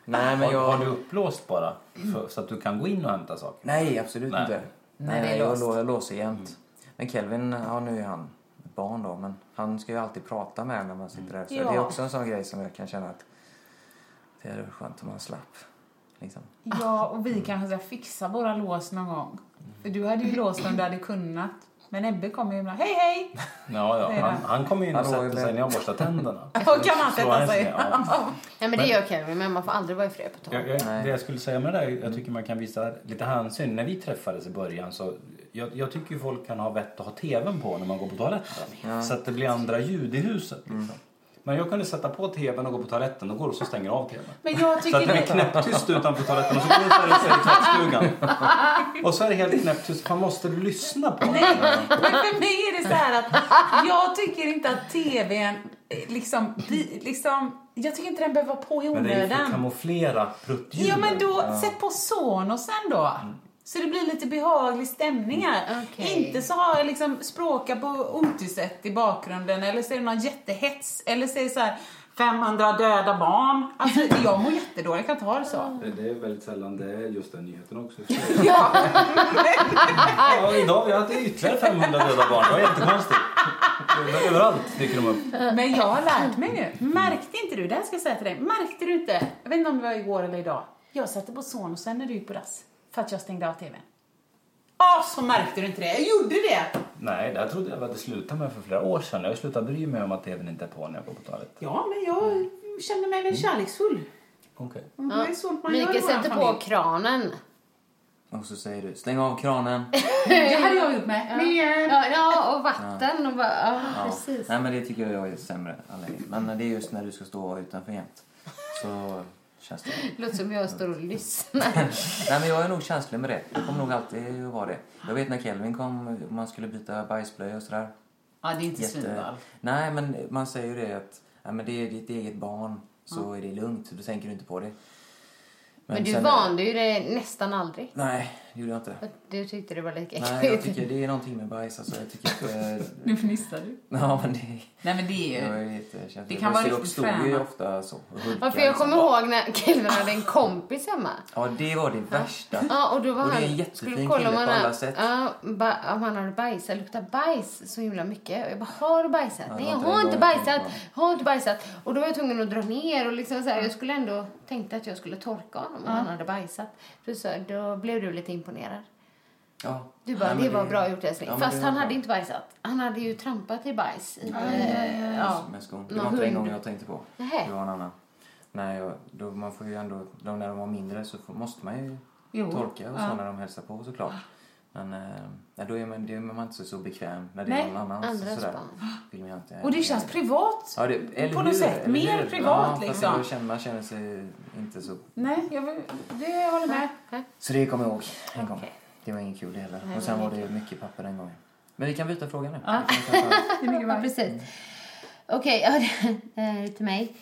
[SPEAKER 5] Nej, men
[SPEAKER 4] Har,
[SPEAKER 5] jag...
[SPEAKER 4] har du uppblåst bara? För, så att du kan gå in och hämta saker?
[SPEAKER 5] Nej, absolut
[SPEAKER 4] Nej.
[SPEAKER 5] inte. Nej, Mm.
[SPEAKER 3] det är
[SPEAKER 5] jag,
[SPEAKER 3] låst.
[SPEAKER 5] lå- jag låser jämt. Men Kelvin, ja nu är han barn då, men han ska ju alltid prata med en när man sitter där. Så det är
[SPEAKER 3] Ja.
[SPEAKER 5] också en sån grej som jag kan känna att det hade varit skönt om han slapp. Liksom.
[SPEAKER 3] Ja, och vi kanske ska fixa våra lås någon gång. För du hade ju låst om du hade kunnat. Men Ebbe kommer ju ibland, hej hej!
[SPEAKER 4] Ja,
[SPEAKER 3] Det är
[SPEAKER 4] ja.
[SPEAKER 3] det.
[SPEAKER 4] Han, han kommer ju in och
[SPEAKER 5] Hallå,
[SPEAKER 4] sätter sig
[SPEAKER 5] Ebbe.
[SPEAKER 4] när jag borstar tänderna.
[SPEAKER 3] Och kan man
[SPEAKER 4] Så
[SPEAKER 3] sätta
[SPEAKER 4] han
[SPEAKER 3] sig?
[SPEAKER 4] säger, ja.
[SPEAKER 2] Nej, men, det gör Kevin, men man får aldrig vara ifred på toa.
[SPEAKER 4] jag, jag, det jag skulle säga med det där, jag tycker man kan visa lite hänsyn. När vi träffades i början så jag, jag tycker ju folk kan ha vett att ha tvn på när man går på toaletten. Så att det blir andra ljud i huset. Liksom. Men jag kunde sätta på tvn och gå på toaletten och går och så stänger jag av tvn.
[SPEAKER 3] Men jag
[SPEAKER 4] Så att
[SPEAKER 3] tycker
[SPEAKER 4] det blir
[SPEAKER 3] det.
[SPEAKER 4] knäpptyst utanför toaletten och så går du och ställer sig i tvättstugan. Och så är det helt knäpptyst. Fan, måste du lyssna på mig?
[SPEAKER 3] Men för mig är det så här att jag tycker inte att tvn eh, liksom, vi- liksom jag tycker inte den behöver vara på i
[SPEAKER 4] Men det är ju för att
[SPEAKER 3] onödan.
[SPEAKER 4] kamouflera pruttljuden.
[SPEAKER 3] Ja men då, sätt på Sonosen då. Så det blir lite behaglig stämning här.
[SPEAKER 2] Okej.
[SPEAKER 3] Inte så har jag liksom språka på otusätt i bakgrunden eller så är det någon jättehets eller så är det så här 500 döda barn. Alltså jag mår jättedåligt, jag kan inte ha det så.
[SPEAKER 6] Det är väldigt sällan det är just den nyheten också.
[SPEAKER 4] Ja, idag vi har haft ytterligare 500 döda barn. Det var jättekonstigt. Överallt dyker de upp.
[SPEAKER 3] Men jag har lärt mig nu. Märkte inte du, det här ska jag säga till dig, märkte du inte? Jag vet inte om det var igår eller idag. Jag satte på Sonosen när du gick på dass för att jag stängde av tvn. Ah, så märkte du inte det? Jag gjorde det!
[SPEAKER 4] Nej, det här trodde jag vi hade slutat med för flera år sedan. Jag har slutat bry mig om att tvn inte är på när jag går på toaletten.
[SPEAKER 3] Ja, men jag känner mig väl kärleksfull.
[SPEAKER 4] Okej.
[SPEAKER 3] Mm-hmm. Det är sånt man gör i
[SPEAKER 2] Mikael
[SPEAKER 3] vår
[SPEAKER 2] sätter på
[SPEAKER 3] familj.
[SPEAKER 2] kranen.
[SPEAKER 5] Och så säger du, stäng av kranen.
[SPEAKER 3] Det hade jag gjort med. Mer.
[SPEAKER 2] Ja, ja och vatten. Och bara, ah, ja,
[SPEAKER 5] Ja.
[SPEAKER 2] precis.
[SPEAKER 5] Nej, men det tycker jag är sämre. anläggning. Men det är just när du ska stå utanför jämt. Så känns det.
[SPEAKER 2] Låter som jag står och lyssnar.
[SPEAKER 5] Nej, men jag är nog känslig med det. Jag kommer nog alltid att vara det. Jag vet när Kelvin kom, man skulle byta bajsblöja och sådär.
[SPEAKER 3] Ja, det är inte
[SPEAKER 5] Jätte... Nej, men man säger ju det att ja, men det är ditt eget barn så är det lugnt. Då tänker du inte på det. Men,
[SPEAKER 2] Men du
[SPEAKER 5] sen-
[SPEAKER 2] vande ju dig nästan aldrig.
[SPEAKER 5] Nej, det gjorde jag inte.
[SPEAKER 2] Du tyckte det var lika
[SPEAKER 5] Nej, jag
[SPEAKER 2] äckligt.
[SPEAKER 5] tycker det är någonting med bajs. Alltså, jag tycker att...
[SPEAKER 3] Nu fnissar du.
[SPEAKER 5] ja, men det...
[SPEAKER 3] Nej, men det är
[SPEAKER 5] Jag
[SPEAKER 3] ju...
[SPEAKER 5] är jättekänslig.
[SPEAKER 3] Det kan
[SPEAKER 5] Bosse
[SPEAKER 3] vara
[SPEAKER 5] Rock
[SPEAKER 3] riktigt
[SPEAKER 5] stod ju
[SPEAKER 3] fränat.
[SPEAKER 5] ofta så. och hulkade
[SPEAKER 2] Ja, för jag
[SPEAKER 5] liksom.
[SPEAKER 2] kommer ihåg när killen hade en kompis hemma.
[SPEAKER 5] Ja, det var det värsta.
[SPEAKER 2] Ja, och då var
[SPEAKER 5] Och det är en
[SPEAKER 2] han,
[SPEAKER 5] jättefin
[SPEAKER 2] skulle kolla om
[SPEAKER 5] kille
[SPEAKER 2] han,
[SPEAKER 5] på alla
[SPEAKER 2] hade-
[SPEAKER 5] sätt.
[SPEAKER 2] ja, ba, om han hade bajsat. Det Luktar bajs så himla mycket. Och jag bara, har du bajsat? Nej, jag
[SPEAKER 5] var inte
[SPEAKER 2] har
[SPEAKER 5] det
[SPEAKER 2] inte
[SPEAKER 5] jag tänkte
[SPEAKER 2] bajsat.
[SPEAKER 5] på.
[SPEAKER 2] Har inte bajsat. Och då var jag tvungen att dra ner och liksom så här, jag skulle ändå tänkte att jag skulle torka honom om han hade bajsat. Då, så, då blev du lite imponerad.
[SPEAKER 5] Ja.
[SPEAKER 2] Du bara,
[SPEAKER 5] Nej, men
[SPEAKER 2] det var bra gjort älskling.
[SPEAKER 5] Ja, men
[SPEAKER 2] Fast
[SPEAKER 5] det var
[SPEAKER 2] han
[SPEAKER 5] bra.
[SPEAKER 2] hade inte bajsat. Han hade ju trampat i bajs. I, eh, ja.
[SPEAKER 5] med skon. Det
[SPEAKER 2] Någon
[SPEAKER 5] var inte den
[SPEAKER 2] hund.
[SPEAKER 5] gången jag tänkte på.
[SPEAKER 2] Nähä.
[SPEAKER 5] Det var en annan. Nej, jag- då, man får ju ändå, de när de var mindre så får, måste man ju
[SPEAKER 3] Jo.
[SPEAKER 5] torka och så när de hälsar på såklart. Men eh, nej, då är man, det är man inte så, så bekväm när det är
[SPEAKER 3] Nej,
[SPEAKER 5] någon annans.
[SPEAKER 2] andras
[SPEAKER 5] och sådär.
[SPEAKER 2] barn.
[SPEAKER 5] Vill man inte,
[SPEAKER 3] Och det känns privat.
[SPEAKER 5] Ja, det, eller
[SPEAKER 3] på något
[SPEAKER 5] hur,
[SPEAKER 3] sätt.
[SPEAKER 5] eller
[SPEAKER 3] Mer
[SPEAKER 5] hur?
[SPEAKER 3] privat,
[SPEAKER 5] ja, fast
[SPEAKER 3] liksom.
[SPEAKER 5] då känner, man känner sig inte så...
[SPEAKER 3] Nej, jag vill, det håller med.
[SPEAKER 5] Så det kommer jag ihåg en gång. Det var ingen kul det heller. och sen var det mycket papper den gången. Men vi kan byta fråga nu. Vi kan ta-
[SPEAKER 2] Ja, precis. Okej, ja, det är till mig.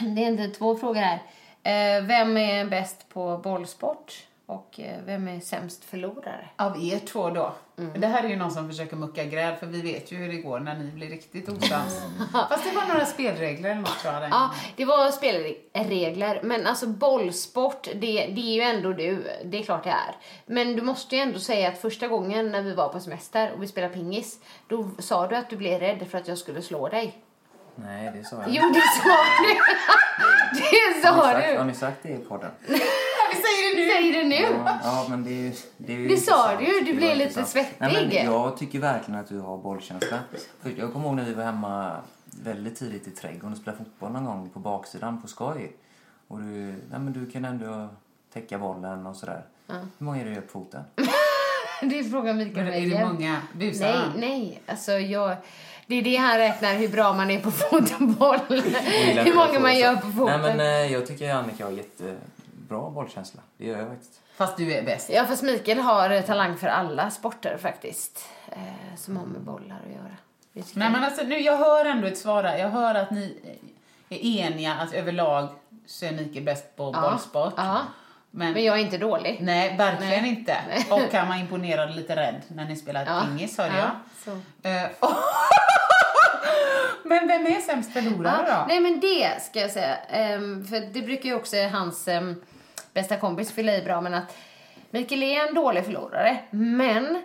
[SPEAKER 2] Det är inte två frågor här. Eh, Vem är bäst på bollsport och eh, vem är sämst förlorare?
[SPEAKER 3] Av er två då. Det här är ju någon som försöker mucka gräl för vi vet ju hur det går när ni blir riktigt osams. Fast det var några spelregler eller något tror jag.
[SPEAKER 2] Ja, det var spelregler, men alltså bollsport, det, det är ju ändå du. Det är klart det är. Men du måste ju ändå säga att första gången när vi var på semester och vi spelade pingis, då sa du att du blev rädd för att jag skulle slå dig.
[SPEAKER 5] Nej, det sa jag
[SPEAKER 2] Jo, det sa du. Det sa
[SPEAKER 5] Har ni sagt-
[SPEAKER 2] du.
[SPEAKER 5] Har ni sagt det i podden?
[SPEAKER 2] Vi säger det nu. Säger det nu.
[SPEAKER 5] Ja, ja, men det, är ju- det, är ju
[SPEAKER 2] Det sa
[SPEAKER 5] intressant.
[SPEAKER 2] du ju, du
[SPEAKER 5] Det var
[SPEAKER 2] blev lite
[SPEAKER 5] intressant.
[SPEAKER 2] svettig.
[SPEAKER 5] Nej, men jag tycker verkligen att du har bollkänsla. För jag kommer ihåg när vi var hemma väldigt tidigt i trädgården och spelade fotboll någon gång på baksidan på skoj. Och du, nej, men du kan ändå täcka bollen och sådär. Hur många är det på foten?
[SPEAKER 2] Det frågar Mikael mig
[SPEAKER 3] Är det
[SPEAKER 2] igen.
[SPEAKER 3] många? Busar
[SPEAKER 2] Nej,
[SPEAKER 5] Ah.
[SPEAKER 3] han?
[SPEAKER 2] nej. Alltså, jag... Det är det han räknar, hur bra man är på fotboll.
[SPEAKER 5] gillar
[SPEAKER 2] hur
[SPEAKER 5] inte
[SPEAKER 2] många
[SPEAKER 5] att
[SPEAKER 2] man
[SPEAKER 5] få
[SPEAKER 2] gör
[SPEAKER 5] så.
[SPEAKER 2] på foten.
[SPEAKER 5] Nej, men eh, jag tycker Annika har jättebra bollkänsla. Det gör jag faktiskt.
[SPEAKER 3] Fast du är bäst.
[SPEAKER 2] Ja, fast Mikael har eh, talang för alla sporter faktiskt. Eh, som har med bollar att göra. Det tycker
[SPEAKER 3] Nej,
[SPEAKER 2] jag.
[SPEAKER 3] men alltså, nu, jag hör ändå ett svar här. Jag hör att ni eh, är eniga att överlag så är Mikael bäst på bollsport.
[SPEAKER 2] ja.
[SPEAKER 3] Men,
[SPEAKER 2] Men jag är inte dålig.
[SPEAKER 3] Nej, verkligen
[SPEAKER 2] Nej.
[SPEAKER 3] inte.
[SPEAKER 2] Nej.
[SPEAKER 3] Och han var imponerad och lite rädd när ni spelade pingis, hörde
[SPEAKER 2] ja,
[SPEAKER 3] jag.
[SPEAKER 2] så.
[SPEAKER 3] Eh, men vem är sämst förlorare
[SPEAKER 2] Ja,
[SPEAKER 3] då?
[SPEAKER 2] nej men det ska jag säga. Ehm, för det brukar ju också hans ehm, bästa kompis fylla i bra men att Mikael är en dålig förlorare men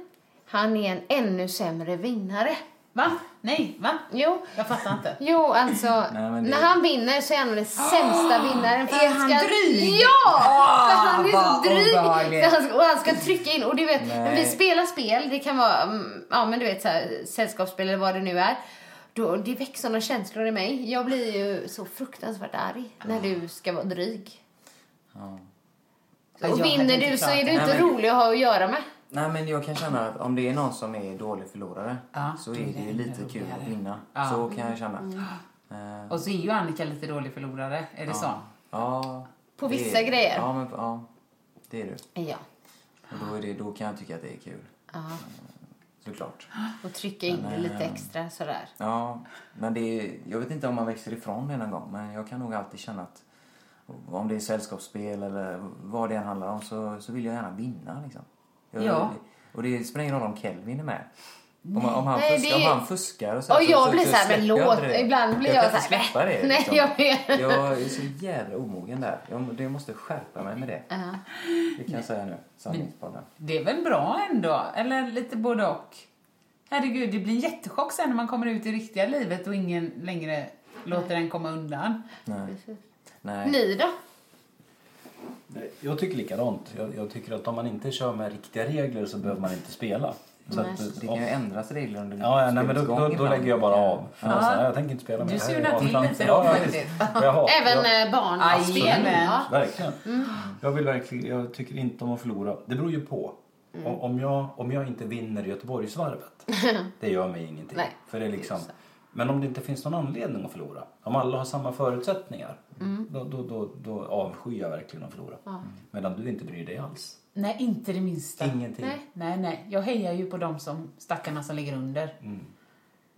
[SPEAKER 2] han är en ännu sämre vinnare.
[SPEAKER 3] Va? Nej, va?
[SPEAKER 2] Jo,
[SPEAKER 3] Jag fattar inte.
[SPEAKER 2] jo alltså
[SPEAKER 5] Nej, men det-
[SPEAKER 2] när han vinner så är han den sämsta vinnaren. för
[SPEAKER 3] Är han dryg?
[SPEAKER 2] Ja! för han är
[SPEAKER 5] vad
[SPEAKER 2] så dryg.
[SPEAKER 5] obehagligt.
[SPEAKER 2] Så han ska, och han ska trycka in och du vet, när vi
[SPEAKER 5] Nej.
[SPEAKER 2] spelar spel, det kan vara mm, ja men du vet så här, sällskapsspel eller vad det nu är. Då, det väcker sådana känslor i mig. Jag blir ju så fruktansvärt arg när du ska vara dryg.
[SPEAKER 3] Ja,
[SPEAKER 2] Och
[SPEAKER 3] jag hade inte
[SPEAKER 2] vinner du så
[SPEAKER 3] klarat
[SPEAKER 2] är du
[SPEAKER 3] det.
[SPEAKER 2] inte
[SPEAKER 5] Nej, men-
[SPEAKER 2] rolig att ha att göra med.
[SPEAKER 5] Nej, men jag kan känna att om det är någon som är dålig förlorare
[SPEAKER 3] Ja,
[SPEAKER 5] så
[SPEAKER 3] då
[SPEAKER 5] är
[SPEAKER 3] är
[SPEAKER 5] det
[SPEAKER 3] det
[SPEAKER 5] ju lite
[SPEAKER 3] ännu
[SPEAKER 5] kul att
[SPEAKER 3] roligare.
[SPEAKER 5] vinna.
[SPEAKER 3] Ja. Mm.
[SPEAKER 5] Så kan jag känna. Eh,
[SPEAKER 3] Och så är ju Annika lite dålig förlorare, är det så?
[SPEAKER 5] Ja.
[SPEAKER 2] På
[SPEAKER 5] det
[SPEAKER 2] vissa
[SPEAKER 5] är,
[SPEAKER 2] grejer.
[SPEAKER 5] Ja, men, ja, det är du.
[SPEAKER 2] Ja,
[SPEAKER 5] Och då, är det, då kan jag tycka att det är kul. Eh,
[SPEAKER 2] Ja.
[SPEAKER 5] Såklart.
[SPEAKER 2] och trycka in det lite extra sådär.
[SPEAKER 5] Ja, men det är, jag vet inte om man växer ifrån det någon gång, men jag kan nog alltid känna att om det är sällskapsspel eller vad det än handlar om så, så vill jag gärna vinna. Liksom. Jag,
[SPEAKER 3] Ja.
[SPEAKER 5] Och det spelar ingen roll om Kelvin är med. Om, om, han,
[SPEAKER 2] Nej,
[SPEAKER 5] fuskar,
[SPEAKER 2] det är-
[SPEAKER 5] om han fuskar och så,
[SPEAKER 2] Och
[SPEAKER 5] så,
[SPEAKER 2] jag
[SPEAKER 5] så,
[SPEAKER 2] blir
[SPEAKER 5] så
[SPEAKER 2] så här, men
[SPEAKER 5] släpper jag
[SPEAKER 2] låt-
[SPEAKER 5] inte det.
[SPEAKER 2] ibland blir jag
[SPEAKER 5] kan
[SPEAKER 2] så
[SPEAKER 5] inte
[SPEAKER 2] här,
[SPEAKER 5] släppa det.
[SPEAKER 2] nej,
[SPEAKER 5] liksom.
[SPEAKER 2] jag vet.
[SPEAKER 5] jag är så jävla omogen där. Jag, jag måste skärpa mig med det. Det kan jag säga nu, sanningspodden.
[SPEAKER 3] Det är väl bra ändå? Eller lite både och? Herregud, det blir en jättechock sen när man kommer ut i riktiga livet och ingen längre låter en komma undan.
[SPEAKER 5] Nej. Nej.
[SPEAKER 2] Ni då?
[SPEAKER 4] Nej, Jag tycker likadant. Jag, jag tycker att om man inte kör med riktiga regler så behöver man inte spela. Så att, eh,
[SPEAKER 5] Det
[SPEAKER 4] om,
[SPEAKER 5] kan ju ändras regler under
[SPEAKER 4] ja, ja, nej, men då,
[SPEAKER 5] spelets gång
[SPEAKER 4] då, då
[SPEAKER 5] ibland.
[SPEAKER 4] lägger jag bara av. För då är jag så här, jag tänker inte spela mer.
[SPEAKER 3] Du
[SPEAKER 4] Det här
[SPEAKER 3] surnar
[SPEAKER 4] är
[SPEAKER 3] till
[SPEAKER 4] avframför.
[SPEAKER 3] lite då,
[SPEAKER 4] Ja, ja,
[SPEAKER 3] faktiskt.
[SPEAKER 4] visst. Och jag har-
[SPEAKER 2] Även
[SPEAKER 4] jag-
[SPEAKER 2] eh, barnspel?
[SPEAKER 3] Jajamän.
[SPEAKER 2] Ja.
[SPEAKER 4] Verkligen. Jag, vill verkligen. jag tycker inte om att förlora. Det beror ju på. Om, om, jag, om jag inte vinner Göteborgsvarvet, det gör mig ingenting.
[SPEAKER 2] Nej,
[SPEAKER 4] För det är liksom, men om det inte finns någon anledning att förlora, om alla har samma förutsättningar, då, då, då, då avskyr jag verkligen att förlora. Medan du inte bryr dig alls.
[SPEAKER 3] Nej, inte det minsta.
[SPEAKER 4] Ingenting.
[SPEAKER 2] Nej.
[SPEAKER 3] Nej, nej. Jag hejar ju på de som, stackarna som ligger under.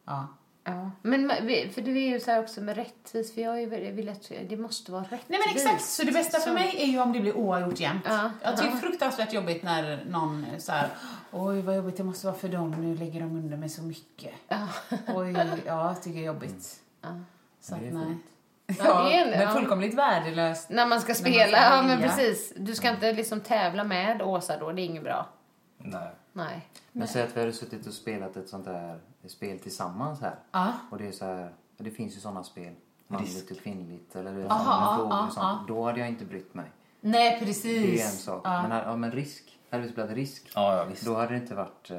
[SPEAKER 3] Ja.
[SPEAKER 2] Ja, men ma- vi- för det är ju så här också med rättvis, för jag är ju väldigt- vill att det måste vara rättvist.
[SPEAKER 3] Nej men exakt, så det bästa för mig är ju om det blir oavgjort jämt.
[SPEAKER 2] Typ Ja.
[SPEAKER 3] Jag tycker det är fruktansvärt jobbigt när någon så här, oj vad jobbigt det måste vara för dem, nu lägger de under mig så mycket. Oj, ja jag tycker det är jobbigt. Så att, nej.
[SPEAKER 2] Mm. Ja, det är en-
[SPEAKER 3] men
[SPEAKER 2] ja. Mm.
[SPEAKER 3] fullkomligt värdelöst.
[SPEAKER 2] När man ska
[SPEAKER 3] När man
[SPEAKER 2] spela,
[SPEAKER 3] ska
[SPEAKER 2] ja men
[SPEAKER 3] välja.
[SPEAKER 2] precis. Du ska inte liksom tävla med Åsa då, det är inget bra.
[SPEAKER 4] Nej.
[SPEAKER 2] Nej.
[SPEAKER 5] Men säg att vi hade suttit och spelat ett sånt där spel tillsammans här.
[SPEAKER 3] Ja.
[SPEAKER 5] Och det är så här, det finns ju sådana spel. Manligt och kvinnligt eller det
[SPEAKER 3] Aha,
[SPEAKER 5] frågor
[SPEAKER 3] ja,
[SPEAKER 5] och sånt. Då hade jag inte brytt mig.
[SPEAKER 3] Nej
[SPEAKER 5] Det är en
[SPEAKER 3] precis.
[SPEAKER 5] sak. Men, här- ja, men risk. Hade vi spelat risk.
[SPEAKER 4] Ja, ja, visst.
[SPEAKER 5] Då hade det inte varit... Eh,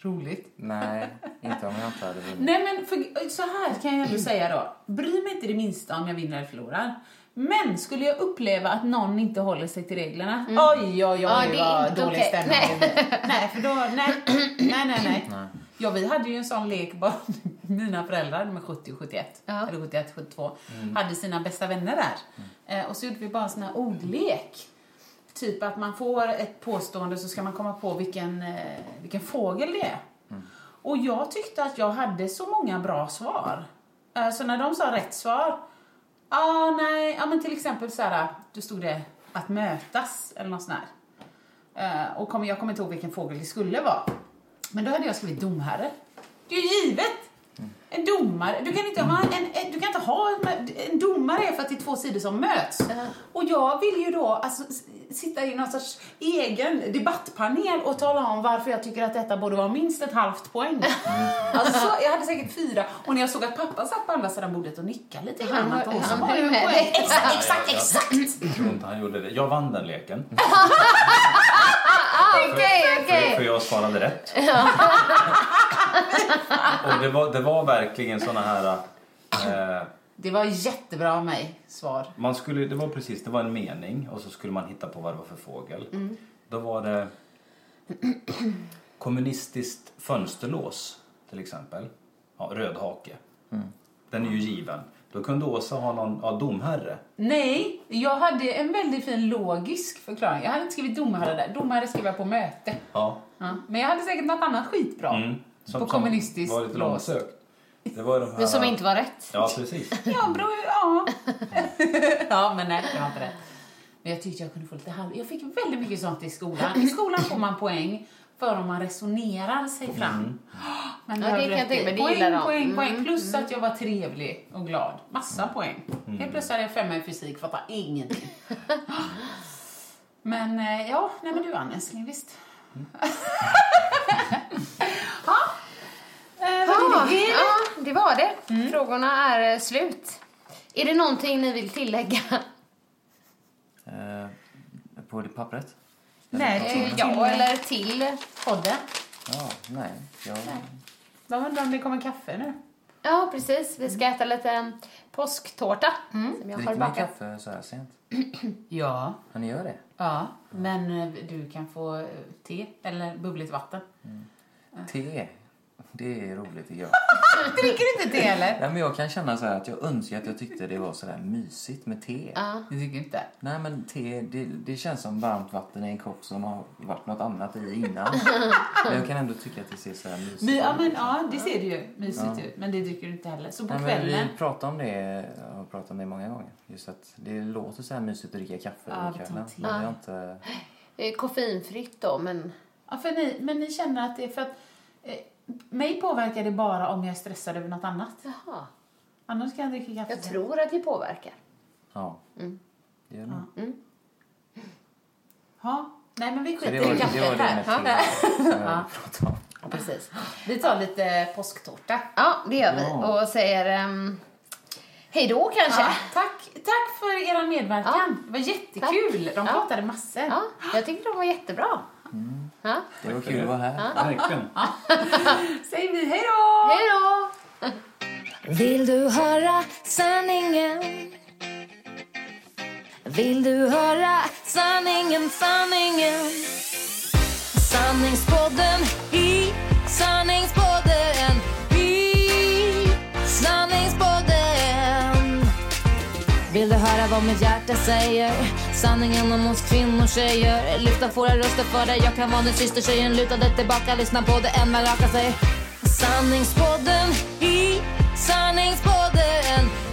[SPEAKER 3] Roligt.
[SPEAKER 5] nej, inte om jag inte hade vunnit.
[SPEAKER 3] Nej men för, så här kan
[SPEAKER 2] Mm.
[SPEAKER 3] jag ändå säga då. Bry mig inte det minsta om jag vinner eller förlorar. Men skulle jag uppleva att någon inte håller sig till reglerna,
[SPEAKER 2] Mm.
[SPEAKER 3] oj oj oj
[SPEAKER 2] Ja, det är
[SPEAKER 3] vad
[SPEAKER 2] inte
[SPEAKER 3] dålig
[SPEAKER 2] okej.
[SPEAKER 3] stämning
[SPEAKER 2] Nej.
[SPEAKER 3] det blir. Nej, för då, nej, nej, nej, nej. Ja, vi hade ju en sån lek, bara mina föräldrar, de är 70 och 71,
[SPEAKER 2] Ja.
[SPEAKER 3] eller 71 72, hade sina bästa vänner där. Eh, och så gjorde vi bara en sån här ordlek. Typ att man får ett påstående så ska man komma på vilken, eh, vilken fågel det är. Och jag tyckte att jag hade så många bra svar. Eh, Så när de sa rätt svar, ja nej, ja men till exempel så här, då stod det att mötas eller något sånt här. Eh, och kom, jag kommer inte ihåg vilken fågel det skulle vara. Men då hade jag skrivit domherre. Det är ju givet! En domare. Du kan inte ha en, en, du kan inte ha en, en domare är för att det är två sidor som möts. Och jag vill ju då alltså, s- sitta i någon sorts egen debattpanel och tala om varför jag tycker att detta borde vara minst ett halvt poäng. Alltså, jag hade säkert fyra. Och när jag såg att pappa satt på andra sidan bordet och nickade lite grann
[SPEAKER 2] var-
[SPEAKER 3] åt oss, så
[SPEAKER 2] han
[SPEAKER 3] var
[SPEAKER 2] höll
[SPEAKER 3] det en
[SPEAKER 2] med
[SPEAKER 3] poäng.
[SPEAKER 2] dig.
[SPEAKER 3] Exakt, exakt, exakt!
[SPEAKER 4] Jag tror inte han gjorde det. Jag vann den leken.
[SPEAKER 2] Okej,
[SPEAKER 4] För, för
[SPEAKER 2] okej.
[SPEAKER 4] jag svarade rätt. och det var, det var verkligen såna här... Eh,
[SPEAKER 3] Det var jättebra av mig, svar.
[SPEAKER 4] man skulle, det var precis, det var en mening och så skulle man hitta på vad det var för fågel.
[SPEAKER 2] Mm.
[SPEAKER 4] Då var det kommunistiskt fönsterlås till exempel. Ja, rödhake. Den är ju given. Då kunde Åsa ha någon ja, domherre.
[SPEAKER 3] Nej, jag hade en väldigt fin logisk förklaring. Jag hade inte skrivit domare där. Domare skrev jag på möte.
[SPEAKER 4] Ja.
[SPEAKER 3] Ja. Men jag hade säkert något annat skitbra.
[SPEAKER 4] Mm.
[SPEAKER 3] På kommunistiskt
[SPEAKER 4] var lite
[SPEAKER 3] lås.
[SPEAKER 4] långsökt. Det var de här,
[SPEAKER 2] Men som inte var rätt.
[SPEAKER 4] Ja, precis.
[SPEAKER 3] Ja, bro, ja. ja, men nej, jag har inte rätt. Men jag tyckte jag kunde få lite halv... Jag fick väldigt mycket sånt i skolan. I skolan får man poäng för om man resonerar sig fram. Men
[SPEAKER 2] Ja,
[SPEAKER 3] jag
[SPEAKER 2] det
[SPEAKER 3] hade
[SPEAKER 2] kan jag
[SPEAKER 3] rätt
[SPEAKER 2] tänka
[SPEAKER 3] i.
[SPEAKER 2] mig, det
[SPEAKER 3] Poäng,
[SPEAKER 2] gillar de.
[SPEAKER 3] poäng,
[SPEAKER 2] Mm,
[SPEAKER 3] poäng. Plus att jag var trevlig och glad. Massa poäng. Helt plötsligt hade jag femma i fysik, fattar ingenting. men eh, ja, nej men du vann älskling, visst. ja. Eh, vad
[SPEAKER 2] Ja,
[SPEAKER 3] är det? Mm.
[SPEAKER 2] ja, det var det. Frågorna är eh, slut. Är det någonting ni vill tillägga?
[SPEAKER 5] Eh, på det pappret?
[SPEAKER 3] Nej,
[SPEAKER 2] Eh,
[SPEAKER 3] ja,
[SPEAKER 2] Ja, eller till?
[SPEAKER 3] podden.
[SPEAKER 5] Ja, nej. Jag,
[SPEAKER 3] Jag undrar om det kommer kaffe nu.
[SPEAKER 2] Ja, precis. Vi ska äta lite eh, påsktårta
[SPEAKER 3] Mm.
[SPEAKER 2] som jag har
[SPEAKER 5] dricker ni
[SPEAKER 2] bakat.
[SPEAKER 5] kaffe så här sent?
[SPEAKER 3] Ja.
[SPEAKER 5] Ja, ni gör det?
[SPEAKER 3] Ja, men eh, du kan få eh, te eller bubbligt vatten.
[SPEAKER 5] Te? Det är roligt tycker jag.
[SPEAKER 3] Dricker du inte te eller?
[SPEAKER 5] Nej, men jag kan känna så här att jag önskar att jag tyckte det var så där mysigt med te.
[SPEAKER 3] Det tycker inte.
[SPEAKER 5] Nej men te, det, det känns som varmt vatten i en kopp som har varit något annat i innan. men jag kan ändå tycka att det ser så här mysigt
[SPEAKER 3] Men, ja,
[SPEAKER 5] ut.
[SPEAKER 3] men, ja, det ser du ju mysigt ut. Men det dricker du inte heller. Så på
[SPEAKER 5] Nej, men
[SPEAKER 3] kvällen...
[SPEAKER 5] vi pratar om det, jag har pratat om det många gånger. Just att det låter så här mysigt att dricka kaffe
[SPEAKER 3] Ja,
[SPEAKER 5] över
[SPEAKER 3] det tar
[SPEAKER 5] kvällen.
[SPEAKER 3] tid.
[SPEAKER 5] Men jag inte...
[SPEAKER 2] Det är Eh, koffeinfritt då, men...
[SPEAKER 3] Ja, för ni, men ni känner att det är för att... Eh, mig påverkar det bara om jag är stressad över något annat.
[SPEAKER 2] Jaha.
[SPEAKER 3] Annars kan jag dricka kaffe.
[SPEAKER 2] Jag tror att det påverkar.
[SPEAKER 5] Ja.
[SPEAKER 3] Mm.
[SPEAKER 5] Det gör det nog.
[SPEAKER 3] Ja. Nej, men vi
[SPEAKER 5] Så det
[SPEAKER 3] skiter
[SPEAKER 5] var
[SPEAKER 3] i
[SPEAKER 5] det, var
[SPEAKER 3] kaffet
[SPEAKER 5] det med
[SPEAKER 3] här.
[SPEAKER 5] te som jag ville prata om.
[SPEAKER 2] Precis.
[SPEAKER 3] Vi tar lite påsktårta.
[SPEAKER 2] Ja, det gör vi.
[SPEAKER 5] Ja.
[SPEAKER 2] Och säger ehm, hej då kanske.
[SPEAKER 3] Ja, tack, tack för er medverkan. Det var jättekul. De
[SPEAKER 2] Ja.
[SPEAKER 3] pratade massor.
[SPEAKER 2] Ja, jag tyckte de var jättebra. Ja.
[SPEAKER 5] Det var kul att vara här.
[SPEAKER 4] Verkligen.
[SPEAKER 3] Säger vi hej då!
[SPEAKER 2] Hej då!
[SPEAKER 1] Vill du höra sanningen? Vill du höra sanningen, sanningen? Sanningspodden i sanningspodden i sanningspodden Vill du höra vad mitt hjärta säger? Sanningen om oss kvinnor, tjejer Lyfta våra röster för dig, jag kan vara din syster Tjejen lutade tillbaka, lyssna på det än man rakar sig Sanningspodden i sanningspodden